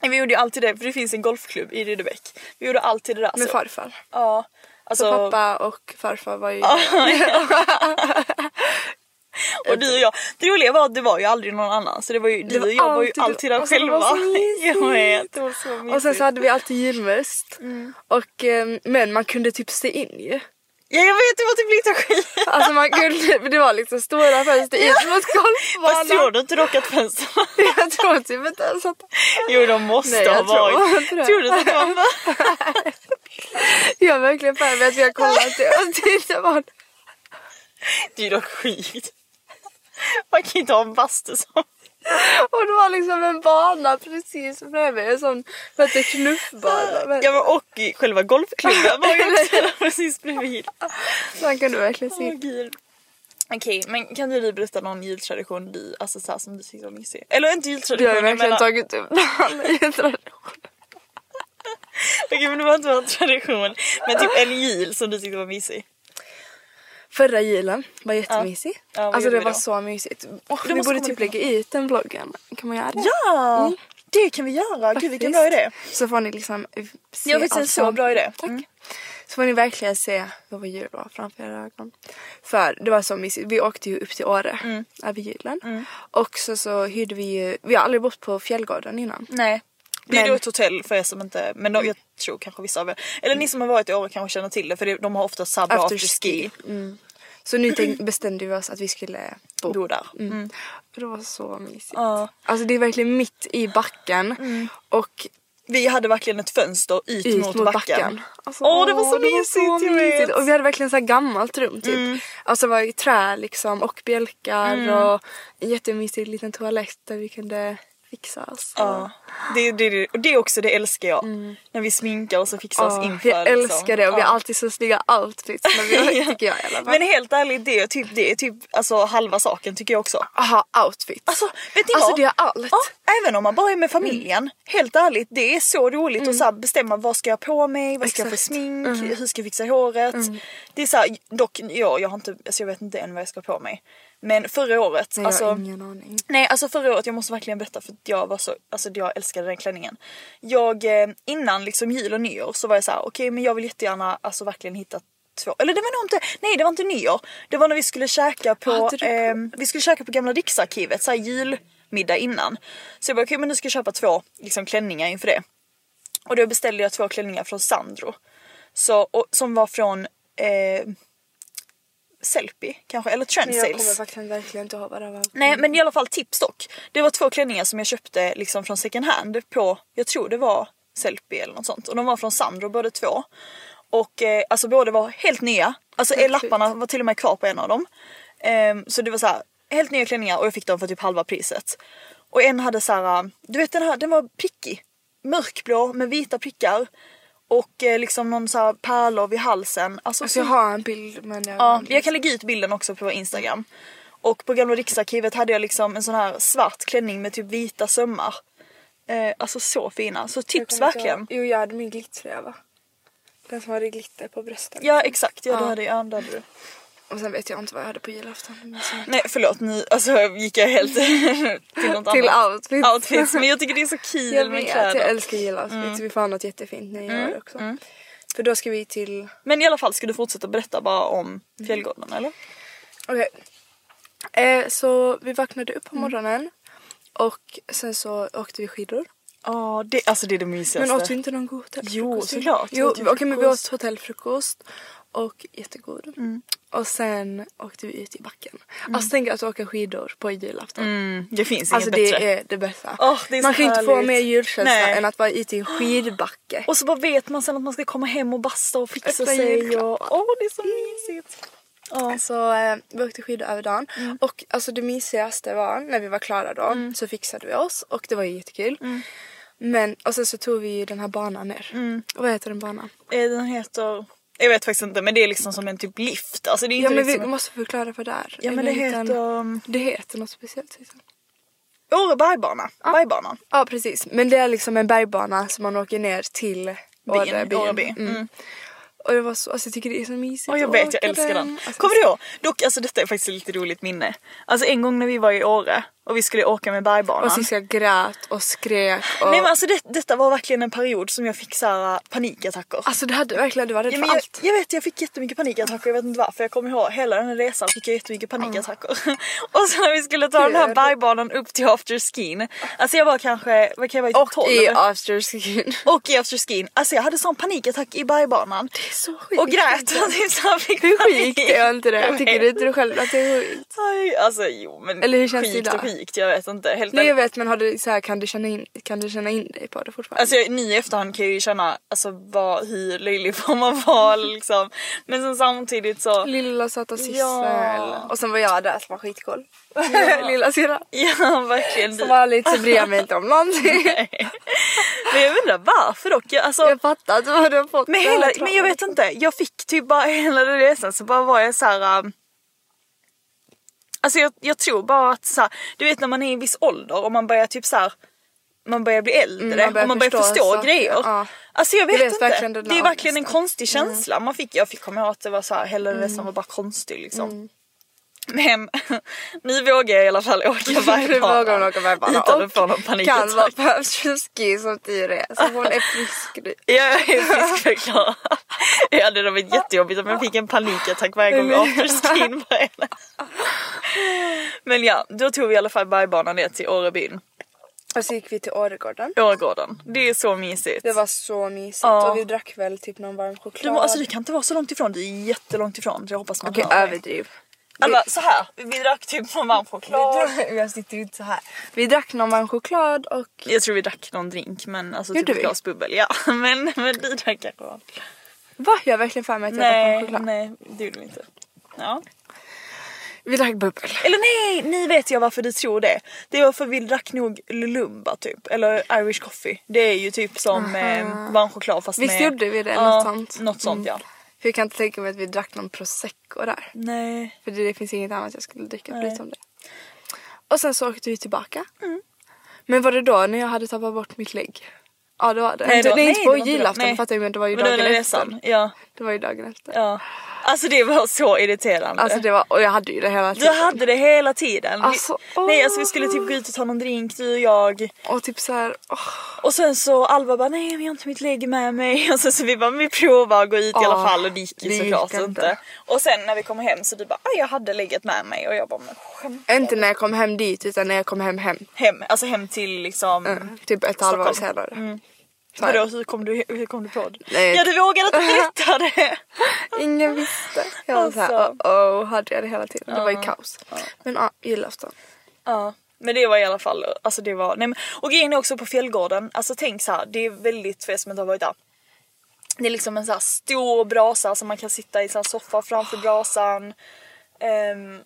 Speaker 2: Vi gjorde ju alltid det, för det finns en golfklubb i Rydebäck. Vi gjorde alltid det där.
Speaker 1: Med
Speaker 2: så-
Speaker 1: farfar.
Speaker 2: Ja. Alltså,
Speaker 1: Så pappa och farfar var ju...
Speaker 2: och du och jag. Det roliga var att det var ju aldrig någon annan. Så det var ju, du
Speaker 1: var
Speaker 2: och jag var ju
Speaker 1: alltid-
Speaker 2: alltid där
Speaker 1: alltså, det
Speaker 2: själva.
Speaker 1: var så mysigt.
Speaker 2: jag vet, det var så mysigt.
Speaker 1: Och sen så hade vi alltid julmust. Och, eh, men man kunde typ se in ju.
Speaker 2: Ja jag vet, det var typ lite skit.
Speaker 1: Alltså man kunde, det var liksom stora fönster ut mot
Speaker 2: Fast tror
Speaker 1: golfbanan.
Speaker 2: du inte dock att fönstren
Speaker 1: Jag tror typ inte ens att...
Speaker 2: Jo de måste
Speaker 1: Nej, jag
Speaker 2: ha
Speaker 1: tror
Speaker 2: varit.
Speaker 1: inte det.
Speaker 2: Tror du inte att det var för?
Speaker 1: Jag har verkligen för mig att vi har kollat det och det inte var
Speaker 2: Det är dock sjukt. Man kan inte ha en bastu som...
Speaker 1: Och det var liksom en bana precis bredvid. En sån, vad heter det, knuffbana. Men
Speaker 2: Ja, men och i själva golfklubben var ju också där precis bredvid.
Speaker 1: Man kunde verkligen se
Speaker 2: Åh,
Speaker 1: in.
Speaker 2: gud. Okej, men kan du du berätta någon jultradition du, alltså så här, som du tyckte var mysig? Eller inte
Speaker 1: Vi
Speaker 2: jultradition,
Speaker 1: har ju
Speaker 2: jag
Speaker 1: verkligen
Speaker 2: menar-
Speaker 1: tagit upp alla jultraditioner.
Speaker 2: Okej men det var inte en tradition, men typ en jul som du tyckte var mysig.
Speaker 1: Förra julen var jättemysig.
Speaker 2: Ja, vad
Speaker 1: alltså
Speaker 2: gjorde
Speaker 1: det
Speaker 2: vi
Speaker 1: var
Speaker 2: då?
Speaker 1: så mysigt. Och
Speaker 2: Du
Speaker 1: vi
Speaker 2: måste
Speaker 1: borde
Speaker 2: komma
Speaker 1: typ
Speaker 2: dit.
Speaker 1: lägga ut den vloggen. Kan man göra det?
Speaker 2: Ja! Det kan vi göra, gud vilken bra idé. alltså-
Speaker 1: Så får ni liksom se
Speaker 2: Jag vet en
Speaker 1: allt
Speaker 2: så
Speaker 1: fram-
Speaker 2: bra idé. Mm.
Speaker 1: Tack. Så får ni verkligen se vad vår jul var framför era ögon. För det var så mysigt. Vi åkte ju upp till Åre
Speaker 2: Mm.
Speaker 1: över julen. Och så, så hyrde vi ju, vi har aldrig bott på Fjällgården innan.
Speaker 2: Nej. Vi är
Speaker 1: Men- Mm.
Speaker 2: då ett hotell för er som inte, men då, jag tror kanske vissa av er, eller ni som har varit i år kanske känner till det för det- de har ofta sabba after,
Speaker 1: After
Speaker 2: ski.
Speaker 1: Så nu tänk, bestämde vi oss att vi skulle bo.
Speaker 2: Bor där.
Speaker 1: Mm. Och det var så mysigt.
Speaker 2: Ja. Mm.
Speaker 1: Alltså det är verkligen mitt i backen. Och
Speaker 2: Vi hade verkligen ett fönster ut,
Speaker 1: ut
Speaker 2: mot, backen.
Speaker 1: Alltså,
Speaker 2: Åh, det var så
Speaker 1: var
Speaker 2: mysigt, Mm. jag vet.
Speaker 1: Och vi hade verkligen så här gammalt rum typ. Alltså det var i trä liksom och bjälkar
Speaker 2: Mm.
Speaker 1: och en jättemysig liten toalett där vi kunde fixa oss.
Speaker 2: Ja. Det, det, det, och det är också, det älskar jag. När vi sminkar oss och fixar
Speaker 1: Mm. Ja,
Speaker 2: oss inför. liksom.
Speaker 1: jag älskar det och vi har
Speaker 2: Ja.
Speaker 1: alltid så snygga outfits när vi, tycker jag i alla fall.
Speaker 2: Men helt ärligt, det är typ, det är typ alltså, halva saken tycker jag också.
Speaker 1: Aha, outfits.
Speaker 2: Alltså, vet ni
Speaker 1: Alltså,
Speaker 2: vad?
Speaker 1: det är allt. Mm.
Speaker 2: Ja, även om man bara är med familjen. Helt ärligt, det är så roligt att så här bestämma vad ska jag ha på mig, vad ska jag ha för
Speaker 1: Exakt. Mm.
Speaker 2: smink, hur ska jag fixa håret. Det är så här, dock, ja, jag, har inte, alltså, jag vet inte än vad jag ska ha på mig. Men förra året,
Speaker 1: Nej, jag
Speaker 2: alltså,
Speaker 1: har ingen aning.
Speaker 2: Nej, alltså förra året, jag måste verkligen berätta för att jag var så, alltså jag älskade den klänningen. Jag, eh, innan liksom jul och nyår så var jag så här, okej men jag vill jättegärna alltså verkligen hitta två, eller det var nog inte, nej det var inte nyår. Det var när vi skulle käka på,
Speaker 1: Hade Ah, du på-
Speaker 2: eh, vi skulle käka på gamla riksarkivet, så här julmiddag innan. Så jag bara, okej men nu ska jag köpa två liksom klänningar inför det. Och då beställde jag två klänningar från Sandro. Så, och, som var från eh, Sellpy kanske, eller
Speaker 1: Men
Speaker 2: Trend
Speaker 1: jag kommer
Speaker 2: Sales.
Speaker 1: faktiskt verkligen inte ihåg vad det var.
Speaker 2: Nej men i alla fall tips dock. Det var två klänningar som jag köpte liksom från second hand på, jag tror det var Sellpy eller något sånt. Och de var från Sandro båda två. Och eh, alltså båda var helt nya. Alltså eh, lapparna var till och med kvar på en av dem. Ehm, så det var så här, helt nya klänningar och jag fick dem för typ halva priset. Och en hade så här, eh, du vet den här, den var prickig. Mörkblå med vita prickar. Och eh, liksom någon så här pärlor vid halsen. Alltså,
Speaker 1: Alltså jag har en bild men jag... liksom-
Speaker 2: Ja, jag kan lägga ut bilden också på vår Instagram. Och på Gamla Riksarkivet hade jag liksom en sån här svart klänning med typ vita sömmar. Eh, alltså så fina, så
Speaker 1: Jag
Speaker 2: tips
Speaker 1: kommer inte
Speaker 2: verkligen.
Speaker 1: ihåg. Jo jag hade min glittriga va? Den som hade glitter på brösten.
Speaker 2: Ja exakt, ja, Du
Speaker 1: Ja.
Speaker 2: hade, ja det hade du.
Speaker 1: Och sen vet jag inte vad jag hade på julafton. men så-
Speaker 2: Nej förlåt, nu alltså, gick jag helt till något
Speaker 1: Till
Speaker 2: annat.
Speaker 1: outfits.
Speaker 2: outfits. Men jag tycker det är så kul
Speaker 1: Jag
Speaker 2: med
Speaker 1: vet, jag
Speaker 2: kläder. mm.
Speaker 1: älskar julafton. Så vi får ha något jättefint när jag gör också. För då ska vi till...
Speaker 2: Men i alla fall ska du fortsätta berätta bara om Fjällgården eller?
Speaker 1: Okej. Eh, så vi vaknade upp
Speaker 2: Mm.
Speaker 1: på morgonen och sen så åkte vi skidor.
Speaker 2: Ja, det, alltså det är det
Speaker 1: Men
Speaker 2: mysigaste.
Speaker 1: åt vi inte någon god hotellfrukost?
Speaker 2: Jo, såklart.
Speaker 1: Jo,
Speaker 2: Åt vi
Speaker 1: okej men vi åt
Speaker 2: frukost? Mm.
Speaker 1: hotellfrukost och jättegod. Och sen åkte vi ut i backen. Alltså tänk att åka skidor på julafton.
Speaker 2: Mm, det finns inget
Speaker 1: Alltså det
Speaker 2: bättre.
Speaker 1: är det bästa.
Speaker 2: Åh, det är
Speaker 1: Man
Speaker 2: så
Speaker 1: kan inte få
Speaker 2: härligt.
Speaker 1: mer julkänsla
Speaker 2: Nej.
Speaker 1: än att vara ute i en skidbacke.
Speaker 2: Och så bara vet man sen att man ska komma hem och basta och fixa
Speaker 1: Öppna Mm.
Speaker 2: sig.
Speaker 1: julklappar.
Speaker 2: Och, åh, det är så mysigt. Ja.
Speaker 1: Så eh, vi åkte skidor över dagen.
Speaker 2: Mm.
Speaker 1: Och alltså det mysigaste var när vi var klara då så fixade vi oss och det var ju jättekul.
Speaker 2: Mm.
Speaker 1: Men och sen så tog vi ju den här banan ner.
Speaker 2: Mm.
Speaker 1: Och vad heter den banan?
Speaker 2: Eh, Den heter... Jag vet faktiskt inte men det är liksom som en typ lift. Alltså det är
Speaker 1: Ja
Speaker 2: inte
Speaker 1: men vi
Speaker 2: liksom...
Speaker 1: måste förklara vad det är.
Speaker 2: Ja,
Speaker 1: Är
Speaker 2: men
Speaker 1: det
Speaker 2: det
Speaker 1: inte en-
Speaker 2: heter, um,
Speaker 1: Det heter något speciellt. Liksom.
Speaker 2: Åre bergbana. Bergbanan.
Speaker 1: Ja precis. Men det är liksom en bergbana som man åker ner till Åre
Speaker 2: Åre by.
Speaker 1: Mm. Och det var så, alltså jag tycker det är så mysigt
Speaker 2: Ja, jag
Speaker 1: att
Speaker 2: vet, jag
Speaker 1: åka
Speaker 2: älskar den.
Speaker 1: Alltså,
Speaker 2: Kommer du ihåg? Dock, alltså detta är faktiskt lite roligt minne. Alltså en gång när vi var i Åre och vi skulle åka med bergbanan.
Speaker 1: Och Cissi grät och skrek och...
Speaker 2: Nej men alltså det, detta var verkligen en period som jag fick så här, äh, panikattacker.
Speaker 1: Alltså du hade verkligen, du var rädd
Speaker 2: Ja,
Speaker 1: för
Speaker 2: men jag,
Speaker 1: allt.
Speaker 2: jag vet, jag fick jättemycket panikattacker. Jag vet inte varför. Jag kommer ihåg hela den här resan fick jag jättemycket
Speaker 1: Mm.
Speaker 2: panikattacker. Och sen när vi skulle ta den här
Speaker 1: Gud.
Speaker 2: bergbanan upp till afterskin. Alltså jag var kanske, vad kan jag vara,
Speaker 1: Och
Speaker 2: typ 12
Speaker 1: i
Speaker 2: eller?
Speaker 1: afterskin.
Speaker 2: och i afterskin. Alltså jag hade sån panikattack i bergbanan.
Speaker 1: så sjukt.
Speaker 2: Och grät. Typ så här fick
Speaker 1: Hur
Speaker 2: panik.
Speaker 1: sjukt är inte det?
Speaker 2: Jag
Speaker 1: Tycker
Speaker 2: vet.
Speaker 1: du inte du själv att det är sjukt?
Speaker 2: Aj, alltså jo men
Speaker 1: Eller hur känns det
Speaker 2: sjukt
Speaker 1: idag?
Speaker 2: och sjukt, jag vet inte. Helt
Speaker 1: Nej jag
Speaker 2: ärligt.
Speaker 1: vet men har du, så här, kan, du känna in, kan du känna in dig på det fortfarande?
Speaker 2: Alltså jag- nu i efterhand kan jag ju känna alltså, vad, hur löjlig får man vara liksom. Men sen samtidigt så...
Speaker 1: Lilla söta Sissel.
Speaker 2: Ja.
Speaker 1: Och sen var jag där som var skitcool. Lilla syrra.
Speaker 2: Ja verkligen.
Speaker 1: Som vanligt så bryr jag mig inte om någonting.
Speaker 2: Men jag undrar varför dock. Jag, alltså,
Speaker 1: Jag fattar inte vad du har fått
Speaker 2: men,
Speaker 1: det här
Speaker 2: hela,
Speaker 1: ifrån.
Speaker 2: men jag vet inte, jag fick typ bara hela den resan så bara var jag så här. ähm, Alltså jag, jag tror bara att så här, du vet när man är i en viss ålder och man börjar typ så här. Man börjar bli äldre
Speaker 1: Mm, man börjar
Speaker 2: och man börjar
Speaker 1: förstå
Speaker 2: förstå,
Speaker 1: saker,
Speaker 2: grejer.
Speaker 1: ja.
Speaker 2: Alltså jag vet,
Speaker 1: vet verkligen Mm.
Speaker 2: inte.
Speaker 1: den
Speaker 2: Det är
Speaker 1: där
Speaker 2: verkligen en
Speaker 1: ångesten.
Speaker 2: konstig känsla man fick. Jag fick komma ihåg att det var så här, hela den
Speaker 1: Mm.
Speaker 2: resan var bara konstig liksom. Men nu vågar jag i alla fall åka
Speaker 1: Nu vågar hon
Speaker 2: bergbana
Speaker 1: åka bergbana.
Speaker 2: utan
Speaker 1: Och
Speaker 2: att få
Speaker 1: Kan
Speaker 2: någon
Speaker 1: vara
Speaker 2: panikattack.
Speaker 1: på afterski som tur är. Så hon är frisk nu.
Speaker 2: Jag är friskförklarad. Jag hade det varit jättejobbigt om jag fick en panikattack varje gång
Speaker 1: Nej, men-
Speaker 2: afterskin började. Men ja, då tog vi i alla fall bergbanan ner till Årebyn.
Speaker 1: Och så gick vi till Åregården.
Speaker 2: Åregården. Det är så mysigt.
Speaker 1: Det var så mysigt.
Speaker 2: Ja.
Speaker 1: Och vi drack väl typ någon varm choklad.
Speaker 2: Du, må- alltså du kan inte vara så långt ifrån, du är jättelångt ifrån. Jag hoppas man
Speaker 1: Okej
Speaker 2: hör mig.
Speaker 1: överdriv.
Speaker 2: Alla, så här. vi drack typ någon varm choklad.
Speaker 1: Jag sitter ju inte så här. Vi drack någon varm choklad och...
Speaker 2: Jag tror vi drack någon drink men alltså typ
Speaker 1: Gjorde
Speaker 2: ett
Speaker 1: vi?
Speaker 2: glas bubbel. Ja men, men du drack kanske
Speaker 1: Va? Jag har verkligen för mig att jag drack varm
Speaker 2: Nej,
Speaker 1: choklad.
Speaker 2: nej det gjorde vi inte. Ja.
Speaker 1: Vi drack bubbel.
Speaker 2: Eller nej, ni vet jag varför du tror det. Det var för vi drack nog Lulumba typ, eller Irish coffee. Det är ju typ som eh, varm choklad fast
Speaker 1: Visst
Speaker 2: med...
Speaker 1: gjorde vi det?
Speaker 2: Ja,
Speaker 1: något sånt. Mm.
Speaker 2: Något sånt ja.
Speaker 1: För jag kan inte tänka mig att vi drack någon prosecco där.
Speaker 2: Nej.
Speaker 1: För det, det finns inget annat jag skulle dricka
Speaker 2: Nej.
Speaker 1: förutom det. Och sen så åkte vi tillbaka.
Speaker 2: Mm.
Speaker 1: Men var det då när jag hade tappat bort mitt lägg? Ja det var det.
Speaker 2: Nej,
Speaker 1: det,
Speaker 2: var-
Speaker 1: det är inte på
Speaker 2: nej, det var inte då.
Speaker 1: julafton
Speaker 2: Nej.
Speaker 1: fattar jag men det var ju
Speaker 2: Men det var
Speaker 1: dagen
Speaker 2: den
Speaker 1: efter.
Speaker 2: resan. Ja,
Speaker 1: Det var ju dagen efter.
Speaker 2: ja. Alltså det var så irriterande.
Speaker 1: Alltså det var, och jag hade ju det hela
Speaker 2: Du
Speaker 1: tiden.
Speaker 2: hade det hela tiden. Vi-
Speaker 1: Alltså, åh.
Speaker 2: Nej alltså vi skulle typ gå ut och ta någon drink du och jag.
Speaker 1: Och typ såhär, åh,
Speaker 2: Och sen så Alva bara nej men jag har inte mitt lägg med mig. Och sen så vi bara men vi provar att gå ut i
Speaker 1: Ja,
Speaker 2: alla fall och det gick ju
Speaker 1: det gick
Speaker 2: såklart
Speaker 1: inte.
Speaker 2: inte. Och sen när vi kommer hem så du bara "Aj, jag hade lägget med mig och jag bara men skämt.
Speaker 1: inte när jag kom hem dit utan när jag kom hem hem.
Speaker 2: Hem, alltså hem till liksom...
Speaker 1: Mm. Typ ett halvår
Speaker 2: Stockholm.
Speaker 1: senare. Så här.
Speaker 2: Vadå, hur kom du, hur kom du på det?
Speaker 1: Nej.
Speaker 2: Ja du vågade inte berätta det!
Speaker 1: Ingen visste. Jag var såhär,
Speaker 2: Alltså.
Speaker 1: oh, oh, hade jag det hela tiden. Det var ju kaos. Men ja, julafton.
Speaker 2: ja. Men det var i alla fall, alltså det var, nej men, och grejen är också på fjällgården, alltså tänk så här, det är väldigt, för er som inte har varit där. Det är liksom en så här stor brasa som man kan sitta i så här soffa framför brasan. Ehm,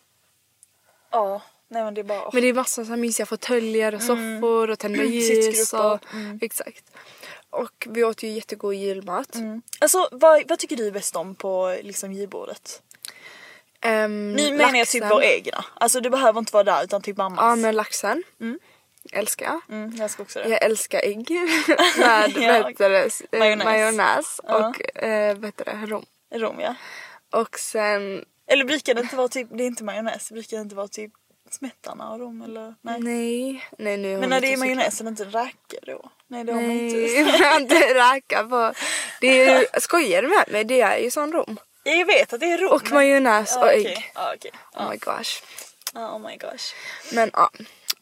Speaker 2: ja, nej men det är bara...
Speaker 1: Men det är massa så här mysiga fåtöljer och
Speaker 2: Mm.
Speaker 1: soffor och tända ljus.
Speaker 2: Sittgrupper.
Speaker 1: Och, Exakt. Och vi åt ju jättegod julmat.
Speaker 2: Alltså vad, vad tycker du bäst om på liksom julbordet?
Speaker 1: Ehm,
Speaker 2: Nu menar jag typ
Speaker 1: laxen.
Speaker 2: vår egna, alltså det behöver inte vara där utan typ mammas.
Speaker 1: Ja men laxen. Älskar jag.
Speaker 2: mm, jag ska också det.
Speaker 1: Jag älskar ägg med
Speaker 2: Ja,
Speaker 1: vad heter det, s- eh,
Speaker 2: majonnäs.
Speaker 1: majonnäs
Speaker 2: Ja.
Speaker 1: och eh, vad heter det, rom.
Speaker 2: Rom ja.
Speaker 1: Och sen,
Speaker 2: Eller brukar det inte vara typ, det är inte majonnäs, det brukar inte vara typ smetana och rom eller? Nej.
Speaker 1: nej, nej nu har
Speaker 2: Men
Speaker 1: vi
Speaker 2: när det är
Speaker 1: inte så-
Speaker 2: majonnäs är det inte räkor då? Nej det har man
Speaker 1: typ Nej,
Speaker 2: inte.
Speaker 1: man har inte racka på. Det är ju, skojar du med mig? Det är ju sån rom.
Speaker 2: Ja, Jag vet att det är rom.
Speaker 1: Och majonnäs
Speaker 2: Ja,
Speaker 1: och
Speaker 2: okej.
Speaker 1: ägg.
Speaker 2: Ja, okej.
Speaker 1: Oh my gosh.
Speaker 2: Oh my gosh.
Speaker 1: Men ja,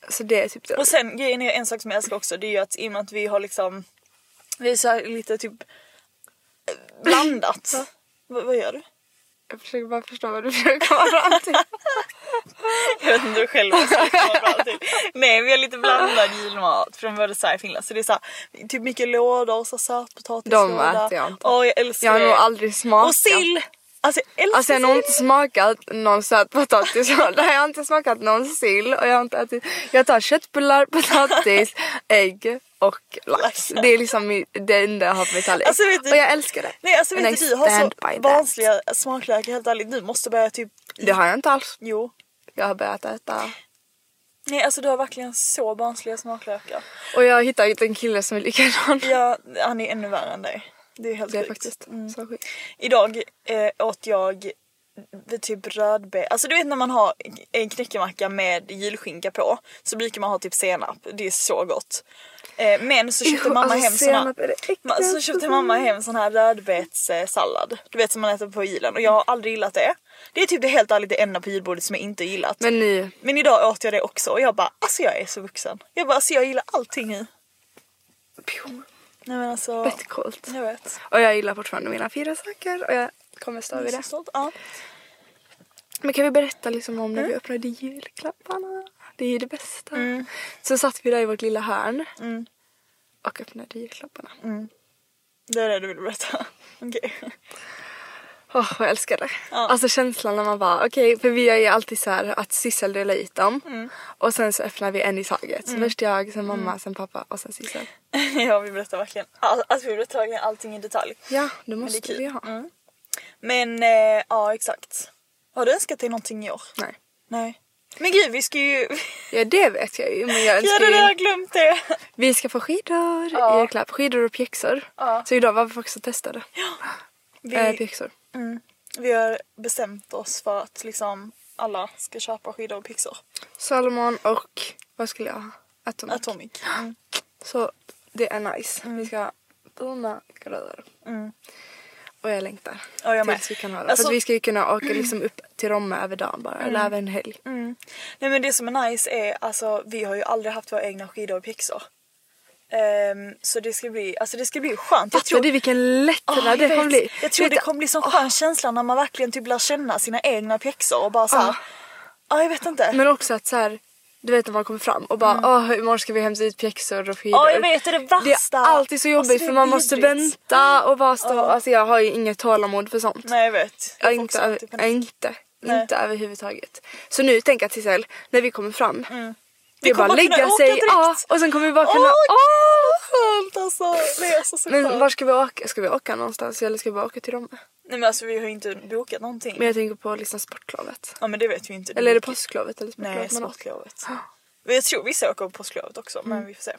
Speaker 1: så det är typ det.
Speaker 2: Och sen grejen är en sak som jag älskar också det är ju att i och med att vi har liksom vi är så här lite typ eh, blandat. V- vad gör du?
Speaker 1: Jag försöker bara förstå vad du försöker komma fram till.
Speaker 2: Jag vet inte hur själv vad jag ska komma fram till. Nej vi har lite blandad julmat från både Sverige och Finland så det är så här, typ mycket lådor och så här sötpotatislåda.
Speaker 1: De äter jag inte.
Speaker 2: Åh jag älskar
Speaker 1: Jag har
Speaker 2: det.
Speaker 1: nog aldrig smakat.
Speaker 2: Och sill! Alltså jag älskar
Speaker 1: Alltså jag har nog
Speaker 2: sill.
Speaker 1: inte smakat någon sötpotatis. Jag har inte smakat någon sill och jag har inte ätit. Jag tar köttbullar, potatis, ägg och lax. Det är liksom min- det enda jag har på min tallrik.
Speaker 2: Alltså, vet du-
Speaker 1: och jag älskar det.
Speaker 2: Nej alltså
Speaker 1: And
Speaker 2: vet du,
Speaker 1: I
Speaker 2: du har så
Speaker 1: stand by that.
Speaker 2: vansiga smaklökar helt ärligt. Du måste börja typ,
Speaker 1: Det har jag inte alls.
Speaker 2: jo.
Speaker 1: Jag har börjat äta.
Speaker 2: Nej alltså du har verkligen så barnsliga smaklökar.
Speaker 1: Och jag har hittat en kille som är likadan.
Speaker 2: Ja, han är ännu värre än dig. Det är helt
Speaker 1: Det är
Speaker 2: sjukt.
Speaker 1: faktiskt
Speaker 2: Mm.
Speaker 1: så sjukt.
Speaker 2: Idag eh, åt jag v- typ rödbet. Alltså du vet när man har en knäckemacka med julskinka på så brukar man ha typ senap. Det är så gott. Eh, men så köpte
Speaker 1: Jo,
Speaker 2: mamma
Speaker 1: alltså,
Speaker 2: hem såna,
Speaker 1: senap är det
Speaker 2: ma- så
Speaker 1: äckligaste
Speaker 2: köpte
Speaker 1: som
Speaker 2: mamma hem sån här rödbetssallad. Du vet som man äter på julen och jag har aldrig gillat det. Det är typ det helt ärligt det enda på julbordet som jag inte gillat.
Speaker 1: Men ni,
Speaker 2: Men idag åt jag det också och jag bara alltså jag är så vuxen. Jag bara alltså jag gillar allting i.
Speaker 1: pjom,
Speaker 2: Nej men alltså.
Speaker 1: vettcoolt.
Speaker 2: Jag vet.
Speaker 1: Och jag gillar fortfarande mina fyra saker och jag kommer stå
Speaker 2: Jag är
Speaker 1: vid
Speaker 2: så
Speaker 1: det.
Speaker 2: stolt. Ja.
Speaker 1: Men kan vi berätta liksom om när vi öppnade julklapparna? Det är ju det bästa. Så satt vi där i vårt lilla hörn och öppnade julklapparna. Åh,
Speaker 2: Det är det du vill berätta. Okej.
Speaker 1: jag älskar det. Alltså känslan när man bara, okej, för vi är ju alltid så här att Sissel delar ut dem och sen så öppnar vi en i taget. Så först jag, sen mamma, sen pappa och sen Sissel.
Speaker 2: ja vi berättar verkligen, all, alltså, vi berättar verkligen allting i detalj.
Speaker 1: Ja, det
Speaker 2: Men det är
Speaker 1: måste
Speaker 2: kul.
Speaker 1: vi ha.
Speaker 2: Mm. Men eh, ja exakt. Har du önskat dig någonting i år?
Speaker 1: Nej.
Speaker 2: Nej. Men gud vi ska ju...
Speaker 1: Ja, det vet jag ju. Men jag
Speaker 2: ja
Speaker 1: önskar ju...
Speaker 2: det
Speaker 1: Äh,
Speaker 2: där, jag har glömt det.
Speaker 1: Vi ska få skidor i julklapp. Skidor och pjäxor. Så idag var vi faktiskt och testade.
Speaker 2: Vi,
Speaker 1: Eh, pjäxor.
Speaker 2: vi har bestämt oss för att liksom alla ska köpa skidor och pixor.
Speaker 1: Salomon och vad skulle jag ha? Atomic.
Speaker 2: Atomic. Mm.
Speaker 1: Så det är nice. Vi ska bona grödor. Och jag längtar.
Speaker 2: Mm. Ja, jag med.
Speaker 1: tills vi kan ha det.
Speaker 2: Alltså- Mm.
Speaker 1: För att vi ska ju kunna åka liksom upp till Romme över dagen bara. Eller över en helg.
Speaker 2: Nej men det som är nice är alltså vi har ju aldrig haft våra egna skidor och pixor. Ehm, så det ska bli, alltså det ska bli skönt. Jag
Speaker 1: Fattar
Speaker 2: tror-
Speaker 1: du vilken
Speaker 2: Ah,
Speaker 1: lättnad
Speaker 2: jag
Speaker 1: det kommer
Speaker 2: vet.
Speaker 1: bli?
Speaker 2: Jag tror
Speaker 1: Vet
Speaker 2: det
Speaker 1: du- Ah.
Speaker 2: kommer bli sån skön känsla när man verkligen typ lär känna sina egna pjäxor och bara såhär.
Speaker 1: Ah.
Speaker 2: Ja jag vet inte.
Speaker 1: Men också att så här, du vet när man kommer fram och bara åh imorgon ska vi hämta ut pjäxor och skidor.
Speaker 2: Ja, Mm. jag vet, det är det
Speaker 1: Det
Speaker 2: värsta.
Speaker 1: är alltid så jobbigt
Speaker 2: Alltså, det är
Speaker 1: för man måste
Speaker 2: vidrigt.
Speaker 1: vänta och bara stå. Alltså jag har ju inget tålamod för sånt.
Speaker 2: Nej jag vet.
Speaker 1: Jag
Speaker 2: får
Speaker 1: inte,
Speaker 2: också typ
Speaker 1: över,
Speaker 2: alltid
Speaker 1: jag
Speaker 2: panik.
Speaker 1: inte.
Speaker 2: Nej.
Speaker 1: Inte överhuvudtaget. Så nu tänker jag till Sissel, när vi kommer fram. Det
Speaker 2: Vi
Speaker 1: är bara
Speaker 2: kommer
Speaker 1: att lägga
Speaker 2: kunna åka
Speaker 1: sig
Speaker 2: direkt.
Speaker 1: ja, och sen kommer vi bara
Speaker 2: Åh,
Speaker 1: kunna... ah.
Speaker 2: gud, skönt alltså. Det är alltså så
Speaker 1: Men
Speaker 2: skönt.
Speaker 1: var ska vi åka? Ska vi åka någonstans eller ska vi bara åka till Romme?
Speaker 2: Nej men alltså vi har ju inte bokat någonting.
Speaker 1: Men jag tänker på liksom sportlovet.
Speaker 2: Ja men det vet vi inte.
Speaker 1: Eller är det
Speaker 2: bokat-
Speaker 1: påsklovet eller sportlovet?
Speaker 2: Nej,
Speaker 1: man åker?
Speaker 2: sportlovet. Men Jag tror vissa åker på påsklovet också men vi får se.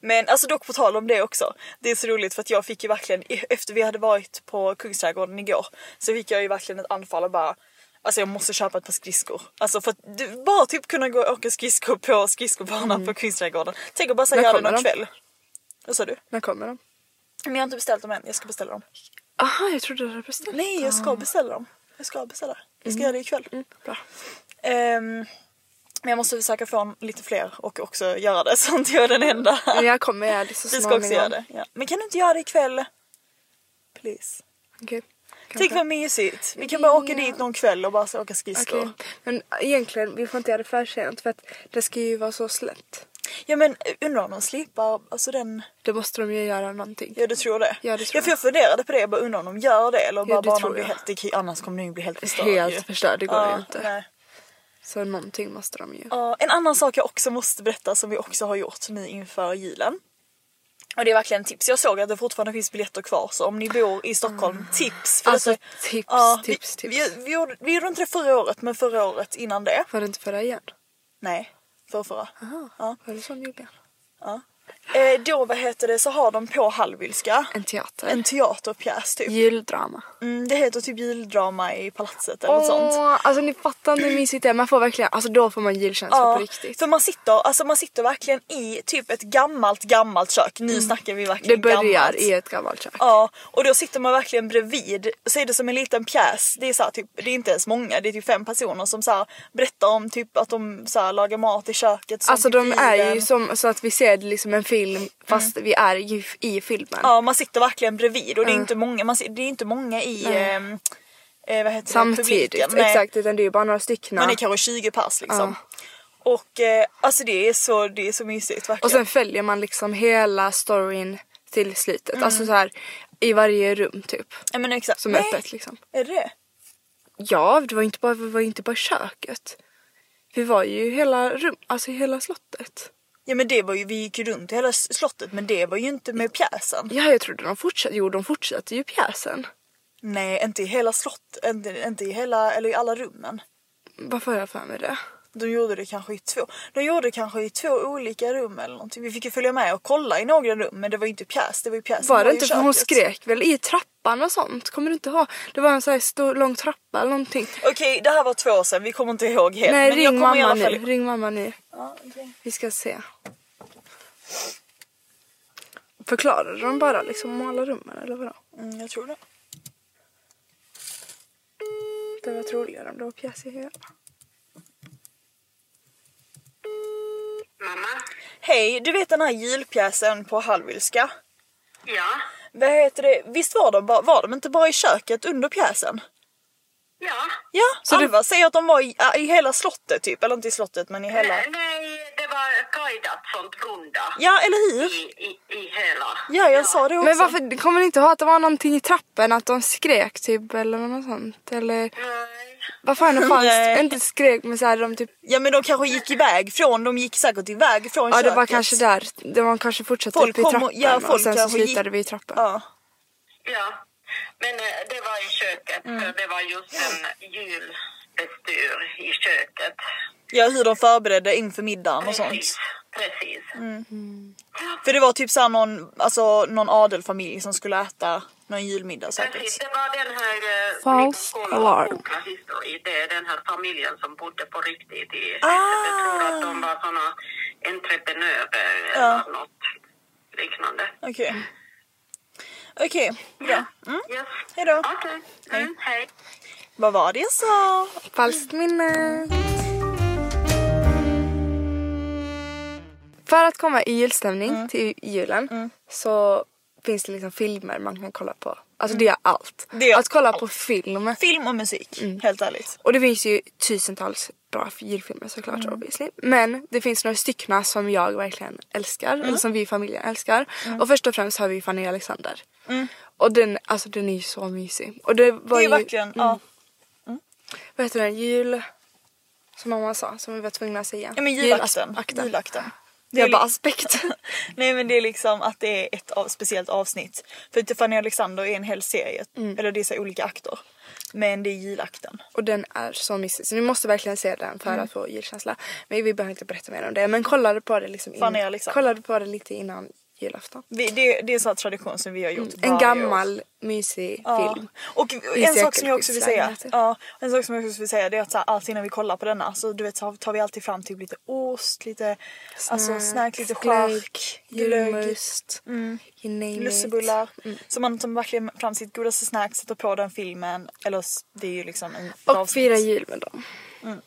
Speaker 2: Men alltså dock på tal om det också. Det är så roligt för att jag fick ju verkligen efter vi hade varit på Kungsträdgården igår så fick jag ju verkligen ett anfall och bara Alltså jag måste köpa ett par skridskor. Alltså för att du, bara typ kunna gå och åka skridskor på skridskobanan på Kungsträdgården. Tänk att bara säga
Speaker 1: När
Speaker 2: göra det
Speaker 1: kommer
Speaker 2: någon
Speaker 1: de?
Speaker 2: kväll. Vad sa du?
Speaker 1: När kommer de?
Speaker 2: Men jag har inte beställt dem än, jag ska beställa dem. Ah.
Speaker 1: Aha, jag trodde du hade beställt.
Speaker 2: Nej jag ska beställa dem. Jag ska beställa. Jag ska göra det ikväll.
Speaker 1: Bra.
Speaker 2: Ehm, men jag måste försöka få lite fler och också göra det så inte jag är den enda.
Speaker 1: Men jag kommer göra det så
Speaker 2: Vi ska
Speaker 1: småningom.
Speaker 2: också göra det. Ja. Men kan du inte göra det ikväll? Please.
Speaker 1: Okej.
Speaker 2: Tänk vad mysigt. Vi kan bara åka dit någon kväll och bara så åka skridskor.
Speaker 1: Okej. Men äh, egentligen, vi får inte göra det för sent för att det ska ju vara så slätt.
Speaker 2: Ja men undrar om de slipar, alltså den,
Speaker 1: Då måste de ju göra någonting.
Speaker 2: ja du tror det?
Speaker 1: Ja, det tror
Speaker 2: jag. för jag funderade på det, jag bara undrar om de gör det eller om
Speaker 1: Ja,
Speaker 2: bara
Speaker 1: det
Speaker 2: banan
Speaker 1: tror
Speaker 2: blir
Speaker 1: jag.
Speaker 2: helt, det kan- annars kommer den ju bli helt förstörd
Speaker 1: Helt
Speaker 2: ju.
Speaker 1: förstörd, det går
Speaker 2: Ja,
Speaker 1: ju inte.
Speaker 2: Nej.
Speaker 1: Så någonting måste de ju.
Speaker 2: Ja, en annan sak jag också måste berätta som vi också har gjort nu inför julen. Och det är verkligen tips. Jag såg att det fortfarande finns biljetter kvar så om ni bor i Stockholm, tips! För
Speaker 1: Alltså,
Speaker 2: detta-
Speaker 1: tips, tips,
Speaker 2: vi,
Speaker 1: tips.
Speaker 2: Vi, vi, gjorde, vi gjorde inte det förra året men förra året innan det.
Speaker 1: Var det inte förra igen?
Speaker 2: Nej, förra, förra.
Speaker 1: Jaha,
Speaker 2: Ja.
Speaker 1: var det så nyligen?
Speaker 2: Ja. Eh, då vad heter det så har de på Hallwylska
Speaker 1: En teater.
Speaker 2: en teaterpjäs typ.
Speaker 1: Juldrama.
Speaker 2: Mm, det heter typ juldrama i palatset eller något sånt.
Speaker 1: Åh, alltså ni fattar inte hur mysigt det är. Man får verkligen, alltså då får man julkänsla på riktigt.
Speaker 2: för man sitter, alltså man sitter verkligen i typ ett gammalt, gammalt kök. Nu snackar vi verkligen
Speaker 1: Mm. Det börjar
Speaker 2: gammalt.
Speaker 1: i ett gammalt kök.
Speaker 2: Ja, och då sitter man verkligen bredvid. Så är det som en liten pjäs. Det är, så här, typ, det är inte ens många, det är typ fem personer som så här, berättar om typ att de så här, lagar mat i köket. sånt
Speaker 1: Alltså
Speaker 2: i
Speaker 1: de är ju
Speaker 2: bilen.
Speaker 1: som så att vi ser det liksom en film fast vi är ju i filmen.
Speaker 2: Ja, man sitter verkligen bredvid och det är inte många, man, sit- det är inte många i ehm, eh, vad heter det,
Speaker 1: Samtidigt.
Speaker 2: publiken. Nej.
Speaker 1: Exakt utan det är ju bara några stycken.
Speaker 2: Man är kanske 20 pers liksom. Och eh, alltså det är så, det är så mysigt verkligen.
Speaker 1: Och sen följer man liksom hela storyn till slutet.
Speaker 2: Mm.
Speaker 1: Alltså så här i varje rum typ.
Speaker 2: Ja, men exakt.
Speaker 1: Som är
Speaker 2: Nej,
Speaker 1: öppet liksom.
Speaker 2: Är det det?
Speaker 1: Ja, det var ju inte bara, vi var ju inte bara i köket. Vi var ju i hela rum, alltså i hela slottet.
Speaker 2: Ja men det var ju, vi gick ju runt i hela s- slottet men det var ju inte med pjäsen.
Speaker 1: Ja, jag trodde de fortsatte. Jo, de fortsatte ju pjäsen.
Speaker 2: Nej, inte i hela slott, inte, inte i hela, eller i alla rummen.
Speaker 1: Varför har jag för mig det?
Speaker 2: De gjorde det kanske i två, de gjorde det kanske i två olika rum eller någonting. Vi fick ju följa med och kolla i några rum men det var ju inte pjäs, det var ju pjäsen
Speaker 1: Var det
Speaker 2: i
Speaker 1: inte för hon
Speaker 2: köket.
Speaker 1: skrek väl i trappan och sånt? Kommer du inte ihåg? Det var en sån här stor lång trappa eller någonting.
Speaker 2: Okej, det här var två år sedan, vi kommer inte ihåg helt.
Speaker 1: Nej,
Speaker 2: men jag
Speaker 1: ring
Speaker 2: kommer i
Speaker 1: mamma,
Speaker 2: alla fall...
Speaker 1: nu. ring mamma nu.
Speaker 2: Ja, okej.
Speaker 1: Vi ska se. Förklarade de bara liksom om alla rummen eller vadå?
Speaker 2: Mm, jag tror det.
Speaker 1: Det var troligare om det var pjäs i hela.
Speaker 2: Hej, du vet den här julpjäsen på Hallwylska?
Speaker 3: Ja,
Speaker 2: Vad heter det? Visst var de, bara, var de inte bara i köket under pjäsen?
Speaker 3: ja.
Speaker 2: Ja, så Alva säger att de var i, ja, i hela slottet typ, eller inte i slottet men i hela...
Speaker 3: Nej, det var guidat sånt runda.
Speaker 2: Ja, eller hur?
Speaker 3: I, uh, i, I hela.
Speaker 2: Ja, jag sa det också.
Speaker 1: Men varför kommer ni inte ihåg att det var någonting i trappen? Att de skrek typ eller något sånt? Eller
Speaker 3: Nej.
Speaker 1: vad fan det fanns?
Speaker 2: Nej.
Speaker 1: inte skrek men såhär de typ...
Speaker 2: Ja, men de kanske gick iväg från, de gick säkert iväg från
Speaker 1: Ja
Speaker 2: köket.
Speaker 1: det var kanske där. Det var kanske fortsatte
Speaker 2: Folk
Speaker 1: upp i
Speaker 2: kom och-
Speaker 1: trappen och,
Speaker 2: ja, folk
Speaker 1: sen så
Speaker 2: kanske gick-
Speaker 1: slutade vi i trappen.
Speaker 2: Ja.
Speaker 3: Ja. Men eh, det var i köket, för det var just en julbestyr i köket.
Speaker 2: ja, hur de förberedde inför middagen och sånt. Mm.
Speaker 3: Precis. Precis.
Speaker 2: För det var typ såhär någon, alltså, någon adelfamilj som skulle äta någon julmiddag
Speaker 3: Precis,
Speaker 2: säkert.
Speaker 3: det var den här... eh,
Speaker 1: False
Speaker 3: Nicola
Speaker 1: alarm.
Speaker 3: Oprah History. Det är den här familjen som bodde på riktigt i...
Speaker 2: Ah.
Speaker 3: Jag tror att de var såna entreprenörer eller något liknande.
Speaker 2: Okej. Okej, bra. Mm.
Speaker 3: Yes.
Speaker 2: Hejdå.
Speaker 3: Okej. Mm, hej.
Speaker 2: Vad var det jag sa?
Speaker 1: Falskt minne. För att komma i julstämning
Speaker 2: Mm.
Speaker 1: till julen så finns det liksom filmer man kan kolla på. Alltså det är allt.
Speaker 2: Mm. Det är
Speaker 1: att kolla
Speaker 2: allt.
Speaker 1: på film.
Speaker 2: Film och musik,
Speaker 1: Mm.
Speaker 2: helt ärligt.
Speaker 1: Och det finns ju tusentals bra julfilmer såklart
Speaker 2: Mm.
Speaker 1: obviously. Men det finns några stycken som jag verkligen älskar. Eller
Speaker 2: Mm.
Speaker 1: som vi i familjen älskar. Och först och främst har vi Fanny och Alexander. Och den, alltså den är ju så mysig. Och det
Speaker 2: Mm. Det
Speaker 1: var
Speaker 2: är ju
Speaker 1: ju... Mm.
Speaker 2: verkligen, ja.
Speaker 1: Vad heter den? Jul... Som mamma sa, som vi var tvungna att säga.
Speaker 2: ja men julakten.
Speaker 1: Julakten.
Speaker 2: julakten. Det är
Speaker 1: Jag bara alltså,
Speaker 2: li-
Speaker 1: aspekt.
Speaker 2: Nej men det är liksom att det är ett av, speciellt avsnitt. För att Fanny och Alexander är en hel serie,
Speaker 1: Mm.
Speaker 2: eller det är så här olika akter. Men det är julakten.
Speaker 1: Och den är så mysig. Så ni måste verkligen se den
Speaker 2: Mm.
Speaker 1: för att få julkänsla. Men vi behöver inte berätta mer om det. Men kollade på det liksom
Speaker 2: Fan, är jag liksom-
Speaker 1: kollade på det lite innan julafton.
Speaker 2: Vi, det, det är en sån här tradition som vi har gjort
Speaker 1: Mm. En
Speaker 2: varje år.
Speaker 1: gammal mysig
Speaker 2: Ja.
Speaker 1: film.
Speaker 2: Och
Speaker 1: I
Speaker 2: en sak som jag också vill säga.
Speaker 1: säkerhetslägenheter.
Speaker 2: Ja, en sak som jag också vill säga det är att så här, alltid innan vi kollar på denna så du vet så tar vi alltid fram typ lite ost, lite alltså snack, lite chark, glögg,
Speaker 1: julmust, you name it.
Speaker 2: lussebullar.
Speaker 1: Mm.
Speaker 2: Så man tar verkligen fram sitt godaste snack, sätter på den filmen. Eller s- det är ju liksom en
Speaker 1: Och fira jul med dem.
Speaker 2: Mm.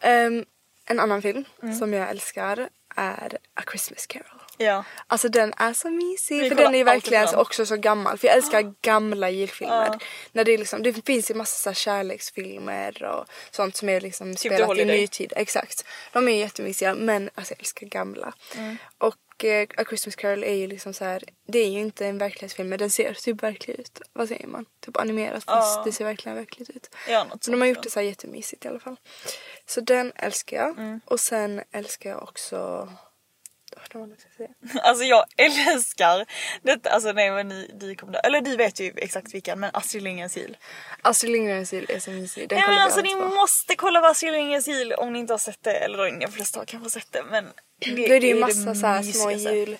Speaker 1: Ehm, en annan film som jag älskar är A Christmas Carol.
Speaker 2: Ja.
Speaker 1: Alltså den är så mysig.
Speaker 2: Vi
Speaker 1: för
Speaker 2: kollar
Speaker 1: den är ju
Speaker 2: alltid
Speaker 1: verkligen alltså
Speaker 2: på den.
Speaker 1: också så gammal. För jag älskar gamla julfilmer. När det, är liksom, det finns ju massa så här kärleksfilmer och sånt som är liksom spelat i
Speaker 2: Typ Holiday.
Speaker 1: nutid. Exakt. De är ju jättemysiga men alltså, jag älskar gamla.
Speaker 2: Mm.
Speaker 1: Och eh, A Christmas Carol är ju liksom så här. Det är ju inte en verklighetsfilm men den ser typ verklig ut. Vad säger man? Typ animerat fast det ser verkligen verkligt ut.
Speaker 2: Ja, något
Speaker 1: så de har
Speaker 2: sånt,
Speaker 1: gjort det så här jättemysigt i
Speaker 2: Mm.
Speaker 1: alla fall. Så den älskar jag. Och sen älskar jag också de har lagt sig.
Speaker 2: Alltså jag älskar detta. Alltså nej men ni, ni kommer dö. Eller du vet ju exakt vilken men Astrid Lindgrens jul.
Speaker 1: Astrid Lindgrens jul Alltså, är så mysig. Den
Speaker 2: Nej men
Speaker 1: kollar
Speaker 2: alltså
Speaker 1: vi
Speaker 2: ni
Speaker 1: alla på.
Speaker 2: måste kolla på Astrid Lindgrens jul om ni inte har sett det. Eller de flesta har kanske sett det men.
Speaker 1: Då är det ju massa så här små
Speaker 2: mysigaste.
Speaker 1: jul.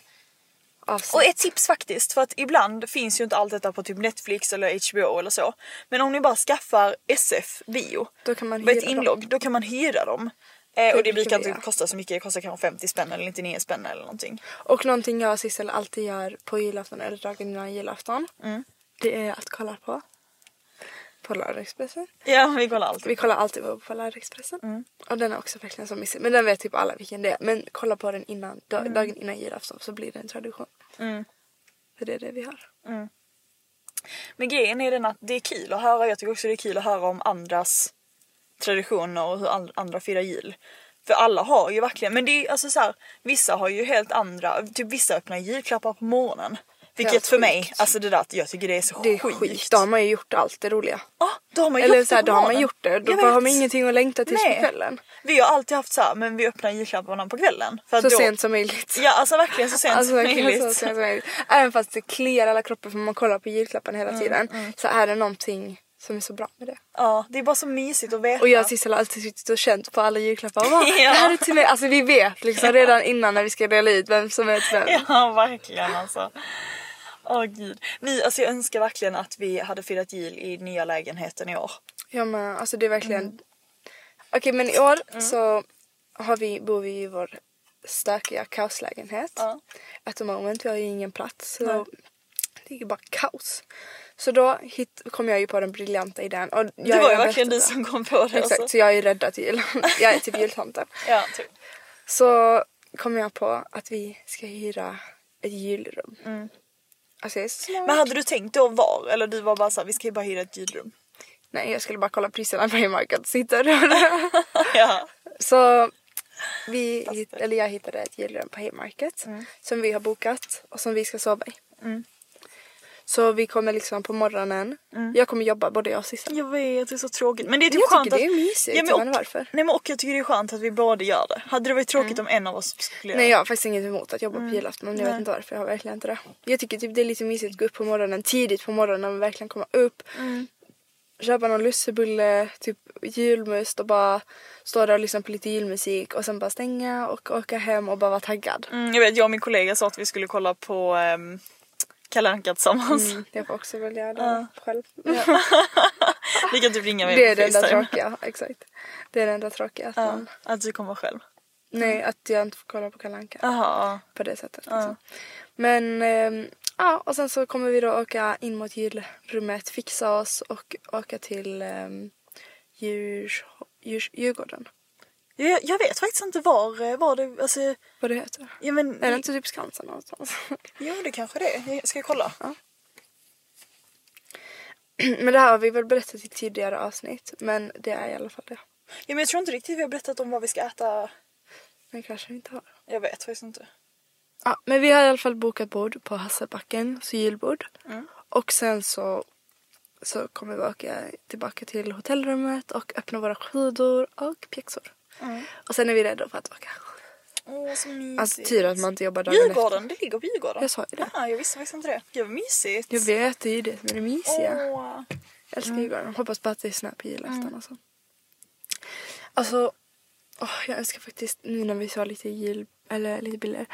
Speaker 1: alltså,
Speaker 2: Och ett tips faktiskt, för att ibland finns ju inte allt detta på typ Netflix eller HBO eller så. Men om ni bara skaffar SF bio
Speaker 1: Då kan man
Speaker 2: med ett
Speaker 1: hyra dem.
Speaker 2: inlogg, då kan man hyra dem. Eh, och
Speaker 1: brukar
Speaker 2: det brukar
Speaker 1: vi
Speaker 2: inte
Speaker 1: göra.
Speaker 2: kosta så mycket, det kostar kanske 50 spänn eller 99 spänn eller någonting.
Speaker 1: Och någonting jag och Sissel alltid gör på julafton eller dagen innan julafton.
Speaker 2: Mm.
Speaker 1: Det är att kolla på Polarexpressen.
Speaker 2: Ja, vi kollar allt.
Speaker 1: Vi kollar alltid på Polarexpressen.
Speaker 2: Mm.
Speaker 1: Och den är också verkligen så mysig. Men den vet typ alla vilken det är. Men kolla på den innan, dag,
Speaker 2: Mm.
Speaker 1: dagen innan julafton så blir det en tradition. För det är det vi har.
Speaker 2: Men grejen är den att det är kul att höra, jag tycker också det är kul att höra om andras traditioner och hur an- andra firar jul. För alla har ju verkligen, men det är alltså så här, vissa har ju helt andra, typ vissa öppnar julklappar på morgonen. Vilket
Speaker 1: Helt
Speaker 2: för mig,
Speaker 1: sjukt.
Speaker 2: alltså det där, jag tycker det är så
Speaker 1: Det är skit.
Speaker 2: sjukt.
Speaker 1: Då har man ju gjort allt det roliga.
Speaker 2: Ja, då har man
Speaker 1: Eller
Speaker 2: gjort
Speaker 1: så här,
Speaker 2: det på
Speaker 1: då har man
Speaker 2: morgonen.
Speaker 1: gjort det. Då
Speaker 2: Jag
Speaker 1: har
Speaker 2: vet.
Speaker 1: man ingenting att längta tills
Speaker 2: Nej.
Speaker 1: på kvällen.
Speaker 2: Vi har alltid haft så här, men vi öppnar julklapparna på kvällen. För att
Speaker 1: Så
Speaker 2: då,
Speaker 1: sent som möjligt.
Speaker 2: Ja, alltså verkligen så sent
Speaker 1: Alltså
Speaker 2: som
Speaker 1: verkligen så sent
Speaker 2: möjligt.
Speaker 1: som möjligt. Även fast det kliar alla kroppar för man kollar på julklappen
Speaker 2: Mm,
Speaker 1: hela tiden. Så är det någonting som är så bra med det.
Speaker 2: Ja, det är bara så mysigt att veta.
Speaker 1: Och jag och Sissel har alltid suttit och känt på alla julklappar. Och bara,
Speaker 2: Ja.
Speaker 1: Det här är till mig. Alltså vi vet liksom redan innan när vi ska dela ut vem som är till vem.
Speaker 2: Ja, verkligen alltså. Åh gud. Ni, alltså jag önskar verkligen att vi hade firat jul i nya lägenheten i år.
Speaker 1: Ja men alltså det är verkligen.
Speaker 2: Mm.
Speaker 1: Okej men i år så har vi, bor vi i vår stökiga kaoslägenhet.
Speaker 2: Ja.
Speaker 1: At the moment, vi har ju ingen plats. Så det är ju bara kaos. Så då hit, kom jag ju på den briljanta idén. Och jag
Speaker 2: det
Speaker 1: är
Speaker 2: var ju
Speaker 1: den
Speaker 2: verkligen
Speaker 1: bästa
Speaker 2: du
Speaker 1: på det.
Speaker 2: som kom på det.
Speaker 1: Exakt,
Speaker 2: Alltså.
Speaker 1: så jag är räddad till jul. jag är typ jultomten.
Speaker 2: Ja, typ.
Speaker 1: Så kom jag på att vi ska hyra ett julrum. Alltså jag är så smart.
Speaker 2: Men hade du tänkt då var? Eller du var bara såhär, vi ska ju bara hyra ett julrum.
Speaker 1: Nej jag skulle bara kolla priserna på Haymarket. Sitter
Speaker 2: Ja.
Speaker 1: Så vi, hitt- eller jag hittade ett julrum på Haymarket som vi har bokat och som vi ska sova i. Så vi kommer liksom på morgonen. Jag kommer jobba både jag och Sissel.
Speaker 2: Jag vet, det är så tråkigt. Men det är typ
Speaker 1: Men jag
Speaker 2: skönt
Speaker 1: tycker
Speaker 2: att...
Speaker 1: det är mysigt,
Speaker 2: men
Speaker 1: jag vet
Speaker 2: och-
Speaker 1: inte varför.
Speaker 2: Nej men och jag tycker det är skönt att vi båda gör det. Hade det varit tråkigt om en av oss skulle göra
Speaker 1: Nej
Speaker 2: det?
Speaker 1: jag har faktiskt inget emot att jobba
Speaker 2: Mm.
Speaker 1: på julafton men jag vet inte varför. Jag har verkligen inte det. Jag tycker typ det är lite mysigt att gå upp på morgonen tidigt på morgonen och verkligen komma upp.
Speaker 2: Mm.
Speaker 1: Köpa någon lussebulle, typ julmust och bara stå där och lyssna på lite julmusik och sen bara stänga och åka hem och bara vara taggad.
Speaker 2: Mm, jag vet, jag och min kollega sa att vi skulle kolla på um, Kalle Anka tillsammans.
Speaker 1: Jag får också välja det själv.
Speaker 2: Ni kan typ ringa mig
Speaker 1: Det är
Speaker 2: på
Speaker 1: det enda
Speaker 2: Facetime.
Speaker 1: tråkiga, exakt. Det är det enda tråkiga. Att
Speaker 2: Ja,
Speaker 1: man,
Speaker 2: att du kommer själv.
Speaker 1: nej, att jag inte får kolla på Kalle Anka
Speaker 2: Jaha,
Speaker 1: på det sättet. Liksom. Men ehm, ja, och sen så kommer vi då åka in mot julrummet, fixa oss och åka till um, djurs, djurs, Djurgården.
Speaker 2: ja. jag, jag vet faktiskt inte var, var det, alltså,
Speaker 1: Vad det heter.
Speaker 2: ja men...
Speaker 1: Är det inte typ Skansen någonstans?
Speaker 2: Jo det kanske det är. Jag ska kolla.
Speaker 1: men det här har vi väl berättat i tidigare avsnitt. Men det är i alla fall det.
Speaker 2: Ja, men jag tror inte riktigt vi har berättat om vad vi ska äta.
Speaker 1: Men kanske vi inte har.
Speaker 2: Jag vet faktiskt inte.
Speaker 1: Ja, men vi har i alla fall bokat bord på Hasselbacken, så julbord. Och sen så, så kommer vi åka tillbaka till hotellrummet och öppna våra skidor och pjäxor. Och sen är vi redo för att åka.
Speaker 2: Åh så mysigt.
Speaker 1: Alltså tur att man inte jobbar dagen
Speaker 2: Djurgården, det ligger på Djurgården.
Speaker 1: Jag sa ju det.
Speaker 2: Ja, jag visste faktiskt inte det. Gud vad mysigt.
Speaker 1: efter. Jag vet, det är ju det som är det mysiga. Mm.
Speaker 2: Åh.
Speaker 1: Jag älskar Djurgården. Hoppas på att det är snö på julafton alltså. Alltså, åh, jag önskar faktiskt nu när vi sa lite jul, eller lite bilder,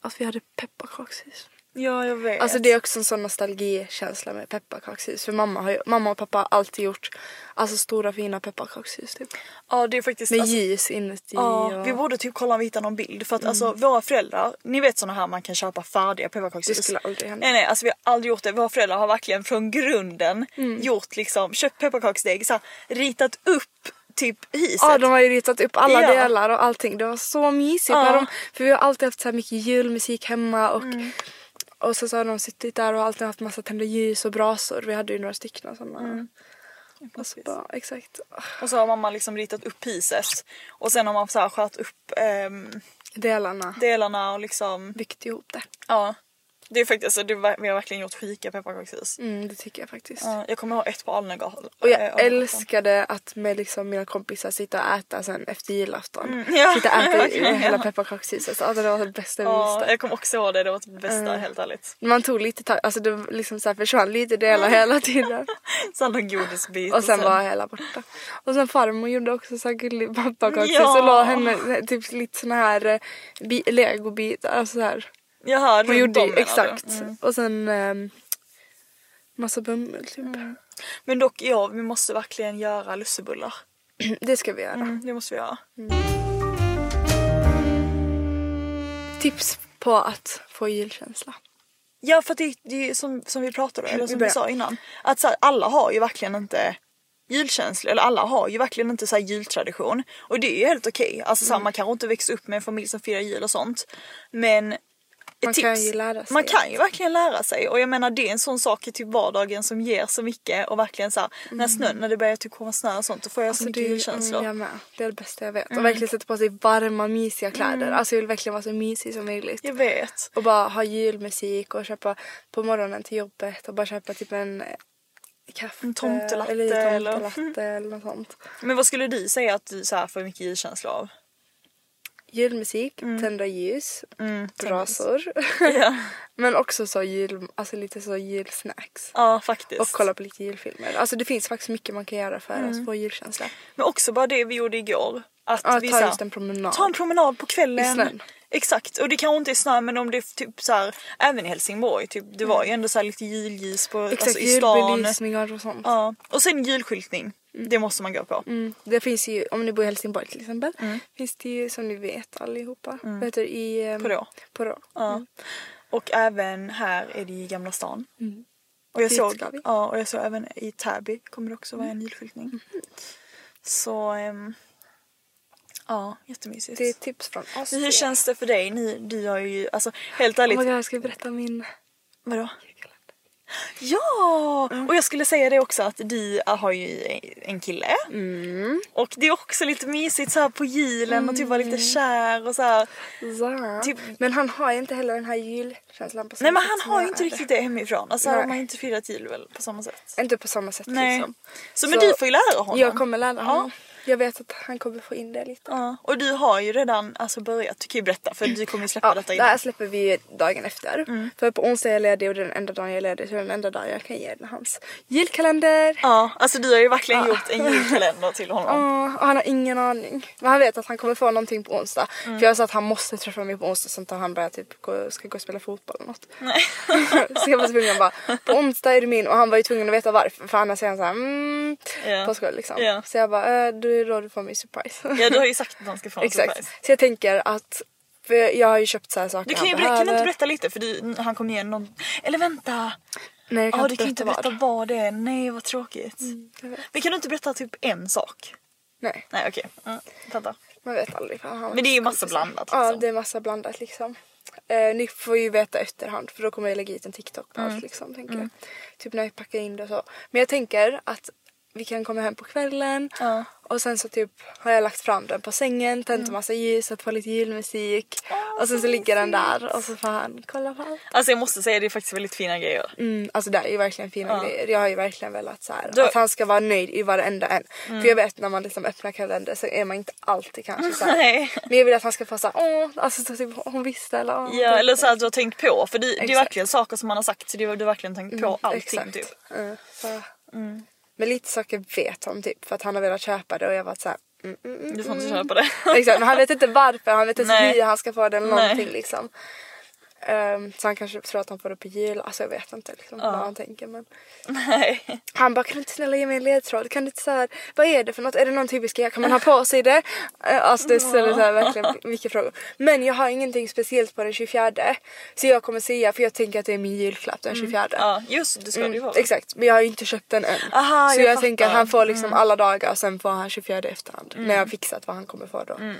Speaker 1: att vi hade pepparkakshus.
Speaker 2: Ja jag vet.
Speaker 1: Alltså det är också en sån nostalgikänsla med pepparkakshus. För mamma, har ju, mamma och pappa har alltid gjort alltså, stora fina pepparkakshus typ.
Speaker 2: ja, det är faktiskt...
Speaker 1: Med
Speaker 2: alltså-
Speaker 1: ljus inuti
Speaker 2: Ja,
Speaker 1: och... Mm.
Speaker 2: vi borde typ kolla om vi hittar någon bild för att alltså våra föräldrar, ni vet såna här man kan köpa färdiga pepparkakshus.
Speaker 1: Det skulle aldrig hända.
Speaker 2: Nej nej, alltså vi har aldrig gjort det. Våra föräldrar har verkligen från grunden
Speaker 1: Mm.
Speaker 2: gjort liksom, köpt pepparkaksdeg, så här, ritat upp typ hiset.
Speaker 1: Ja, de har ju ritat upp alla
Speaker 2: Ja.
Speaker 1: delar och allting. Det var så mysigt.
Speaker 2: Ja.
Speaker 1: När de, för vi har alltid haft så här mycket julmusik hemma och, och så, så har de suttit där och alltid haft massa tända ljus och brasor. Vi hade ju några stycken sådana. Och så bara, exakt.
Speaker 2: Och så har mamma liksom ritat upp hiset och sen har man så här skärt upp ehm,
Speaker 1: Delarna.
Speaker 2: delarna och liksom,
Speaker 1: Byggt ihop det.
Speaker 2: ja. Det är faktiskt, alltså, det var, vi har verkligen gjort sjuka pepparkakshus.
Speaker 1: Mm, det tycker jag faktiskt.
Speaker 2: Ja, jag kommer ha ett på Eh, Alnegatan.
Speaker 1: Och jag älskade att med liksom mina kompisar sitta och äta sen efter julafton.
Speaker 2: Mm, ja.
Speaker 1: Sitta och äta
Speaker 2: Okej,
Speaker 1: i hela pepparkakshuset. Alltså, det var det bästa vi
Speaker 2: Ja,
Speaker 1: visste.
Speaker 2: jag kommer också ha det, det var typ det bästa
Speaker 1: Mm.
Speaker 2: helt ärligt.
Speaker 1: Man tog lite tag, alltså det liksom så här försvann lite
Speaker 2: Mm.
Speaker 1: delar hela tiden.
Speaker 2: Sen någon godisbit.
Speaker 1: Och sen var hela borta. Och sen farmor gjorde också så här gullig pepparkakshus
Speaker 2: Ja.
Speaker 1: och la henne typ lite såna här eh, bi- legobitar. Alltså så här.
Speaker 2: Jaha,
Speaker 1: Hon
Speaker 2: runt
Speaker 1: gjorde
Speaker 2: om,
Speaker 1: ju,
Speaker 2: menar du?
Speaker 1: exakt.
Speaker 2: Mm.
Speaker 1: Och sen ehm, massa bomull typ.
Speaker 2: Mm. Men dock, ja, vi måste verkligen göra lussebullar.
Speaker 1: Det ska vi göra.
Speaker 2: Det måste vi göra.
Speaker 1: Tips på att få julkänsla.
Speaker 2: Ja, för att det, det är ju som, som vi pratade eller
Speaker 1: Vi
Speaker 2: som vi
Speaker 1: börjar.
Speaker 2: sa innan. Att så här, alla har ju verkligen inte julkänsla, eller alla har ju verkligen inte så här jultradition. Och det är ju helt okej. Alltså
Speaker 1: Mm.
Speaker 2: så här, man kanske inte växer upp med en familj som firar jul och sånt. Men ett
Speaker 1: Man
Speaker 2: tips,
Speaker 1: kan ju lära sig.
Speaker 2: Man kan ju verkligen lära sig. Och jag menar det är en sån sak i typ vardagen som ger så mycket. Och verkligen så här, när snön, när det börjar typ komma snö och sånt, då får jag så Mm. mycket
Speaker 1: Mm. är-
Speaker 2: julkänslor.
Speaker 1: mm, Jag med. Det är det bästa jag vet. Och verkligen sätta på sig varma mysiga kläder.
Speaker 2: Mm.
Speaker 1: Alltså jag vill verkligen vara så mysig som möjligt.
Speaker 2: Jag vet.
Speaker 1: Och bara ha julmusik och köpa på morgonen till jobbet och bara köpa typ en eh, kaffe.
Speaker 2: En tomtelatte
Speaker 1: eller,
Speaker 2: eller-
Speaker 1: tomtelatte eller något sånt.
Speaker 2: Men vad skulle du säga att du så här får mycket julkänsla av?
Speaker 1: Julmusik,
Speaker 2: Mm.
Speaker 1: tända ljus, brasor.
Speaker 2: Ja.
Speaker 1: Men också så jul, alltså lite så julsnacks.
Speaker 2: Ja faktiskt.
Speaker 1: Och kolla på lite julfilmer. Alltså det finns faktiskt mycket man kan göra för
Speaker 2: Mm.
Speaker 1: att få julkänsla.
Speaker 2: Men också bara det vi gjorde igår. Att
Speaker 1: Ja,
Speaker 2: vi
Speaker 1: ta
Speaker 2: så här-
Speaker 1: just en promenad.
Speaker 2: Ta en promenad på
Speaker 1: I
Speaker 2: kvällen.
Speaker 1: snön.
Speaker 2: Exakt, och det kanske inte är snö men om det är typ så här, även i Helsingborg, typ, det var ju ändå så här lite julljus på,
Speaker 1: Mm. Exakt,
Speaker 2: alltså, i stan.
Speaker 1: julbelysningar och sånt.
Speaker 2: Ja. Och sen julskyltning, det måste man gå på.
Speaker 1: Mm. Det finns ju, om ni bor i Helsingborg till exempel,
Speaker 2: Mm.
Speaker 1: finns det ju som ni vet allihopa, vad heter det, i... ehm,
Speaker 2: På då.
Speaker 1: På då.
Speaker 2: Ja. Och även här är det i Gamla stan.
Speaker 1: Mm.
Speaker 2: Och, jag
Speaker 1: Dit
Speaker 2: såg,
Speaker 1: ska vi.
Speaker 2: ja, och jag såg även i Täby kommer det också vara
Speaker 1: Mm.
Speaker 2: en julskyltning. Så ehm, ja, jättemysigt.
Speaker 1: Det är ett tips från oss.
Speaker 2: Hur känns det för dig? Ni, du har ju, alltså helt ärligt,
Speaker 1: Oh my God, jag ska berätta min...
Speaker 2: Vadå? Ja!
Speaker 1: Mm.
Speaker 2: Och jag skulle säga det också att du har ju en kille.
Speaker 1: Mm.
Speaker 2: Och det är också lite mysigt så här på julen och typ vara lite kär och så här.
Speaker 1: Ja.
Speaker 2: Typ-
Speaker 1: Men han har ju inte heller den här julkänslan på samma
Speaker 2: Nej men
Speaker 1: sätt
Speaker 2: han
Speaker 1: som
Speaker 2: har
Speaker 1: jag
Speaker 2: ju inte
Speaker 1: är.
Speaker 2: riktigt det hemifrån. Alltså Nej.
Speaker 1: Nej.
Speaker 2: man har inte firat jul väl på samma sätt.
Speaker 1: Inte på samma sätt
Speaker 2: Nej.
Speaker 1: liksom.
Speaker 2: Så men du får ju lära honom.
Speaker 1: Jag kommer lära honom.
Speaker 2: Ja.
Speaker 1: Jag vet att han kommer få in det lite.
Speaker 2: Ja. Och du har ju redan alltså börjat, du kan ju berätta för du kommer ju släppa
Speaker 1: Ja,
Speaker 2: detta Mm.
Speaker 1: det här
Speaker 2: innan.
Speaker 1: släpper vi dagen efter. För på onsdag är jag ledig och det är den enda dagen jag är ledig så det är den enda dagen jag kan ge den hans julkalender.
Speaker 2: Ja, alltså du har ju verkligen
Speaker 1: Ja.
Speaker 2: gjort en julkalender till honom.
Speaker 1: Ja, och han har ingen aning. Men han vet att han kommer få någonting på onsdag.
Speaker 2: Mm.
Speaker 1: För jag sa att han måste träffa mig på onsdag sånt att han börjar typ gå, ska gå och spela fotboll eller något. så jag var tvungen att bara, på onsdag är du min och han var ju tvungen att veta varför för annars är han såhär mm,
Speaker 2: Ja.
Speaker 1: på skoj liksom.
Speaker 2: Ja.
Speaker 1: Så jag bara, äh, du är då du får min surprise.
Speaker 2: Ja du har ju sagt att han ska få en
Speaker 1: Exakt.
Speaker 2: surprise.
Speaker 1: Så jag tänker att för jag har ju köpt så här saker
Speaker 2: Du kan ju
Speaker 1: han
Speaker 2: berätta, kan du inte
Speaker 1: behöver.
Speaker 2: berätta lite för du, han kommer ge någon... Eller vänta!
Speaker 1: Nej jag
Speaker 2: Ja,
Speaker 1: kan
Speaker 2: du
Speaker 1: inte
Speaker 2: kan
Speaker 1: berätta, Mm,
Speaker 2: inte berätta vad. det är. Nej, vad tråkigt. Men kan du inte berätta typ en sak?
Speaker 1: Nej
Speaker 2: Nej, okej. Mm, vänta.
Speaker 1: man vet aldrig. För han har
Speaker 2: Men det är ju massa
Speaker 1: kompisar.
Speaker 2: blandat, liksom.
Speaker 1: Ja det är massa blandat liksom. Eh, ni får ju veta efterhand för då kommer jag lägga ut en TikTok på
Speaker 2: Mm.
Speaker 1: allt liksom tänker jag. Typ när jag packar in det och så. Men jag tänker att vi kan komma hem på kvällen
Speaker 2: Ja. Mm.
Speaker 1: och sen så typ har jag lagt fram den på sängen, tänt en massa ljus, satt på lite julmusik och sen så ligger den där och så får han kolla på allt.
Speaker 2: Alltså jag måste säga, det är faktiskt väldigt fina grejer.
Speaker 1: Mm, alltså det är ju verkligen fina grejer. Jag har ju verkligen velat så här,
Speaker 2: Du- Mm.
Speaker 1: att han ska vara nöjd i varenda en. För jag vet när man liksom öppnar kalender så är man inte alltid kanske så här.
Speaker 2: Nej.
Speaker 1: Men jag vill att han ska få såhär åh, alltså så typ, hon visste eller åh. typ."
Speaker 2: Ja, eller så att du har tänkt på. För det, det är
Speaker 1: Exakt. Mm,
Speaker 2: verkligen saker som man har sagt. Så du, du har verkligen tänkt på allting
Speaker 1: Exakt.
Speaker 2: typ. Mm.
Speaker 1: Ja, så. Men lite saker vet han typ för att han har velat köpa det och jag har varit såhär mm, mm, mm.
Speaker 2: Du får inte köpa det.
Speaker 1: Exakt, men han vet inte varför, han vet inte
Speaker 2: Nej.
Speaker 1: hur han ska få det eller
Speaker 2: Nej.
Speaker 1: någonting liksom. Ehm, så han kanske tror att han får det på jul, alltså jag vet inte liksom, vad han tänker men.
Speaker 2: Nej.
Speaker 1: Han bara kan du inte snälla ge mig en ledtråd? Kan du inte så här, vad är det för något? Är det någon typisk grej? Kan man ha på sig det? Eh, Alltså det ställer så här verkligen mycket frågor. Men jag har ingenting speciellt på den 24 så jag kommer säga för jag tänker att det är min julklapp den 24.
Speaker 2: Mm. Ja, just det ska du ju vara.
Speaker 1: Mm, Exakt men jag har ju inte köpt den än.
Speaker 2: Aha,
Speaker 1: så
Speaker 2: jag
Speaker 1: jag,
Speaker 2: fattar. Mm.
Speaker 1: tänker att han får liksom alla dagar och sen får han 24 i efterhand när jag har fixat vad han kommer få då.
Speaker 2: Mm.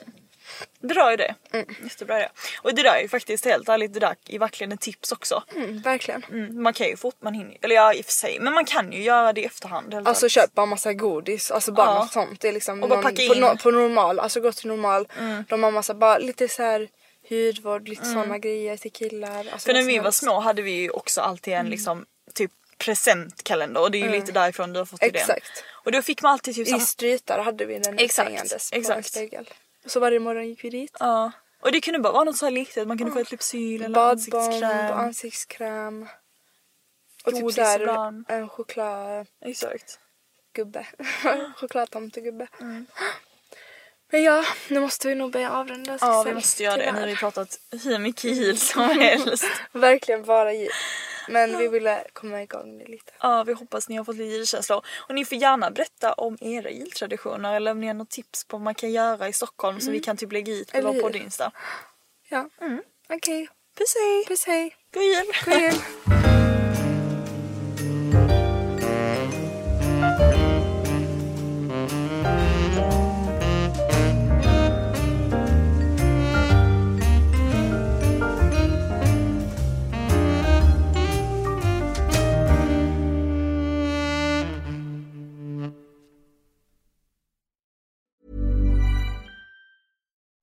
Speaker 2: Bra idé.
Speaker 1: Mm.
Speaker 2: Jättebra idé. Och det där är ju faktiskt helt ärligt, det där är verkligen ett tips också.
Speaker 1: Mm, verkligen.
Speaker 2: Mm, Man kan ju fort, man hinner Eller ja i och för sig, men man kan ju göra det i efterhand. helt
Speaker 1: Alltså
Speaker 2: ärligt.
Speaker 1: köp bara massa godis, alltså bara
Speaker 2: Ja.
Speaker 1: något sånt. Det är liksom
Speaker 2: Och bara
Speaker 1: någon,
Speaker 2: packa
Speaker 1: på,
Speaker 2: in. Mm.
Speaker 1: no, på normal, alltså gå till normal. De har massa, bara lite så här hudvård, lite såna grejer till killar. Alltså
Speaker 2: För
Speaker 1: vad
Speaker 2: när
Speaker 1: som
Speaker 2: vi var
Speaker 1: helst. Mm.
Speaker 2: små hade vi ju också alltid en liksom typ presentkalender och det är ju lite därifrån du har fått idén.
Speaker 1: Exakt.
Speaker 2: Och då fick man alltid typ
Speaker 1: I
Speaker 2: samma...
Speaker 1: strytar hade vi den
Speaker 2: Exakt,
Speaker 1: hängandes på en
Speaker 2: exakt.
Speaker 1: spegel. Så varje morgon gick vi dit.
Speaker 2: Ja. Och det kunde bara vara något så här litet, man kunde
Speaker 1: Mm.
Speaker 2: få ett lypsyl eller
Speaker 1: Badbomb,
Speaker 2: ansiktskräm.
Speaker 1: ansiktskräm. Och typ
Speaker 2: Godis
Speaker 1: såhär
Speaker 2: ibland.
Speaker 1: en chokladgubbe.
Speaker 2: Exakt.
Speaker 1: Chokladtomtegubbe.
Speaker 2: Mm.
Speaker 1: Men ja, nu måste vi nog börja avrunda.
Speaker 2: Ja vi
Speaker 1: Sissel.
Speaker 2: måste göra det, nu har
Speaker 1: Tyvärr.
Speaker 2: vi pratat hur mycket heal som helst.
Speaker 1: Verkligen bara ge. Men vi ville komma igång med lite.
Speaker 2: Ja, vi hoppas ni har fått lite gillkänslor. Och ni får gärna berätta om era gilltraditioner eller om ni har något tips på vad man kan göra i Stockholm som vi kan typ lägga hit på
Speaker 1: Mm. Eller
Speaker 2: vår
Speaker 1: hur?
Speaker 2: podd Insta.
Speaker 1: Ja, okej.
Speaker 2: Puss hej!
Speaker 1: Puss hej.
Speaker 2: God jul!
Speaker 1: God jul.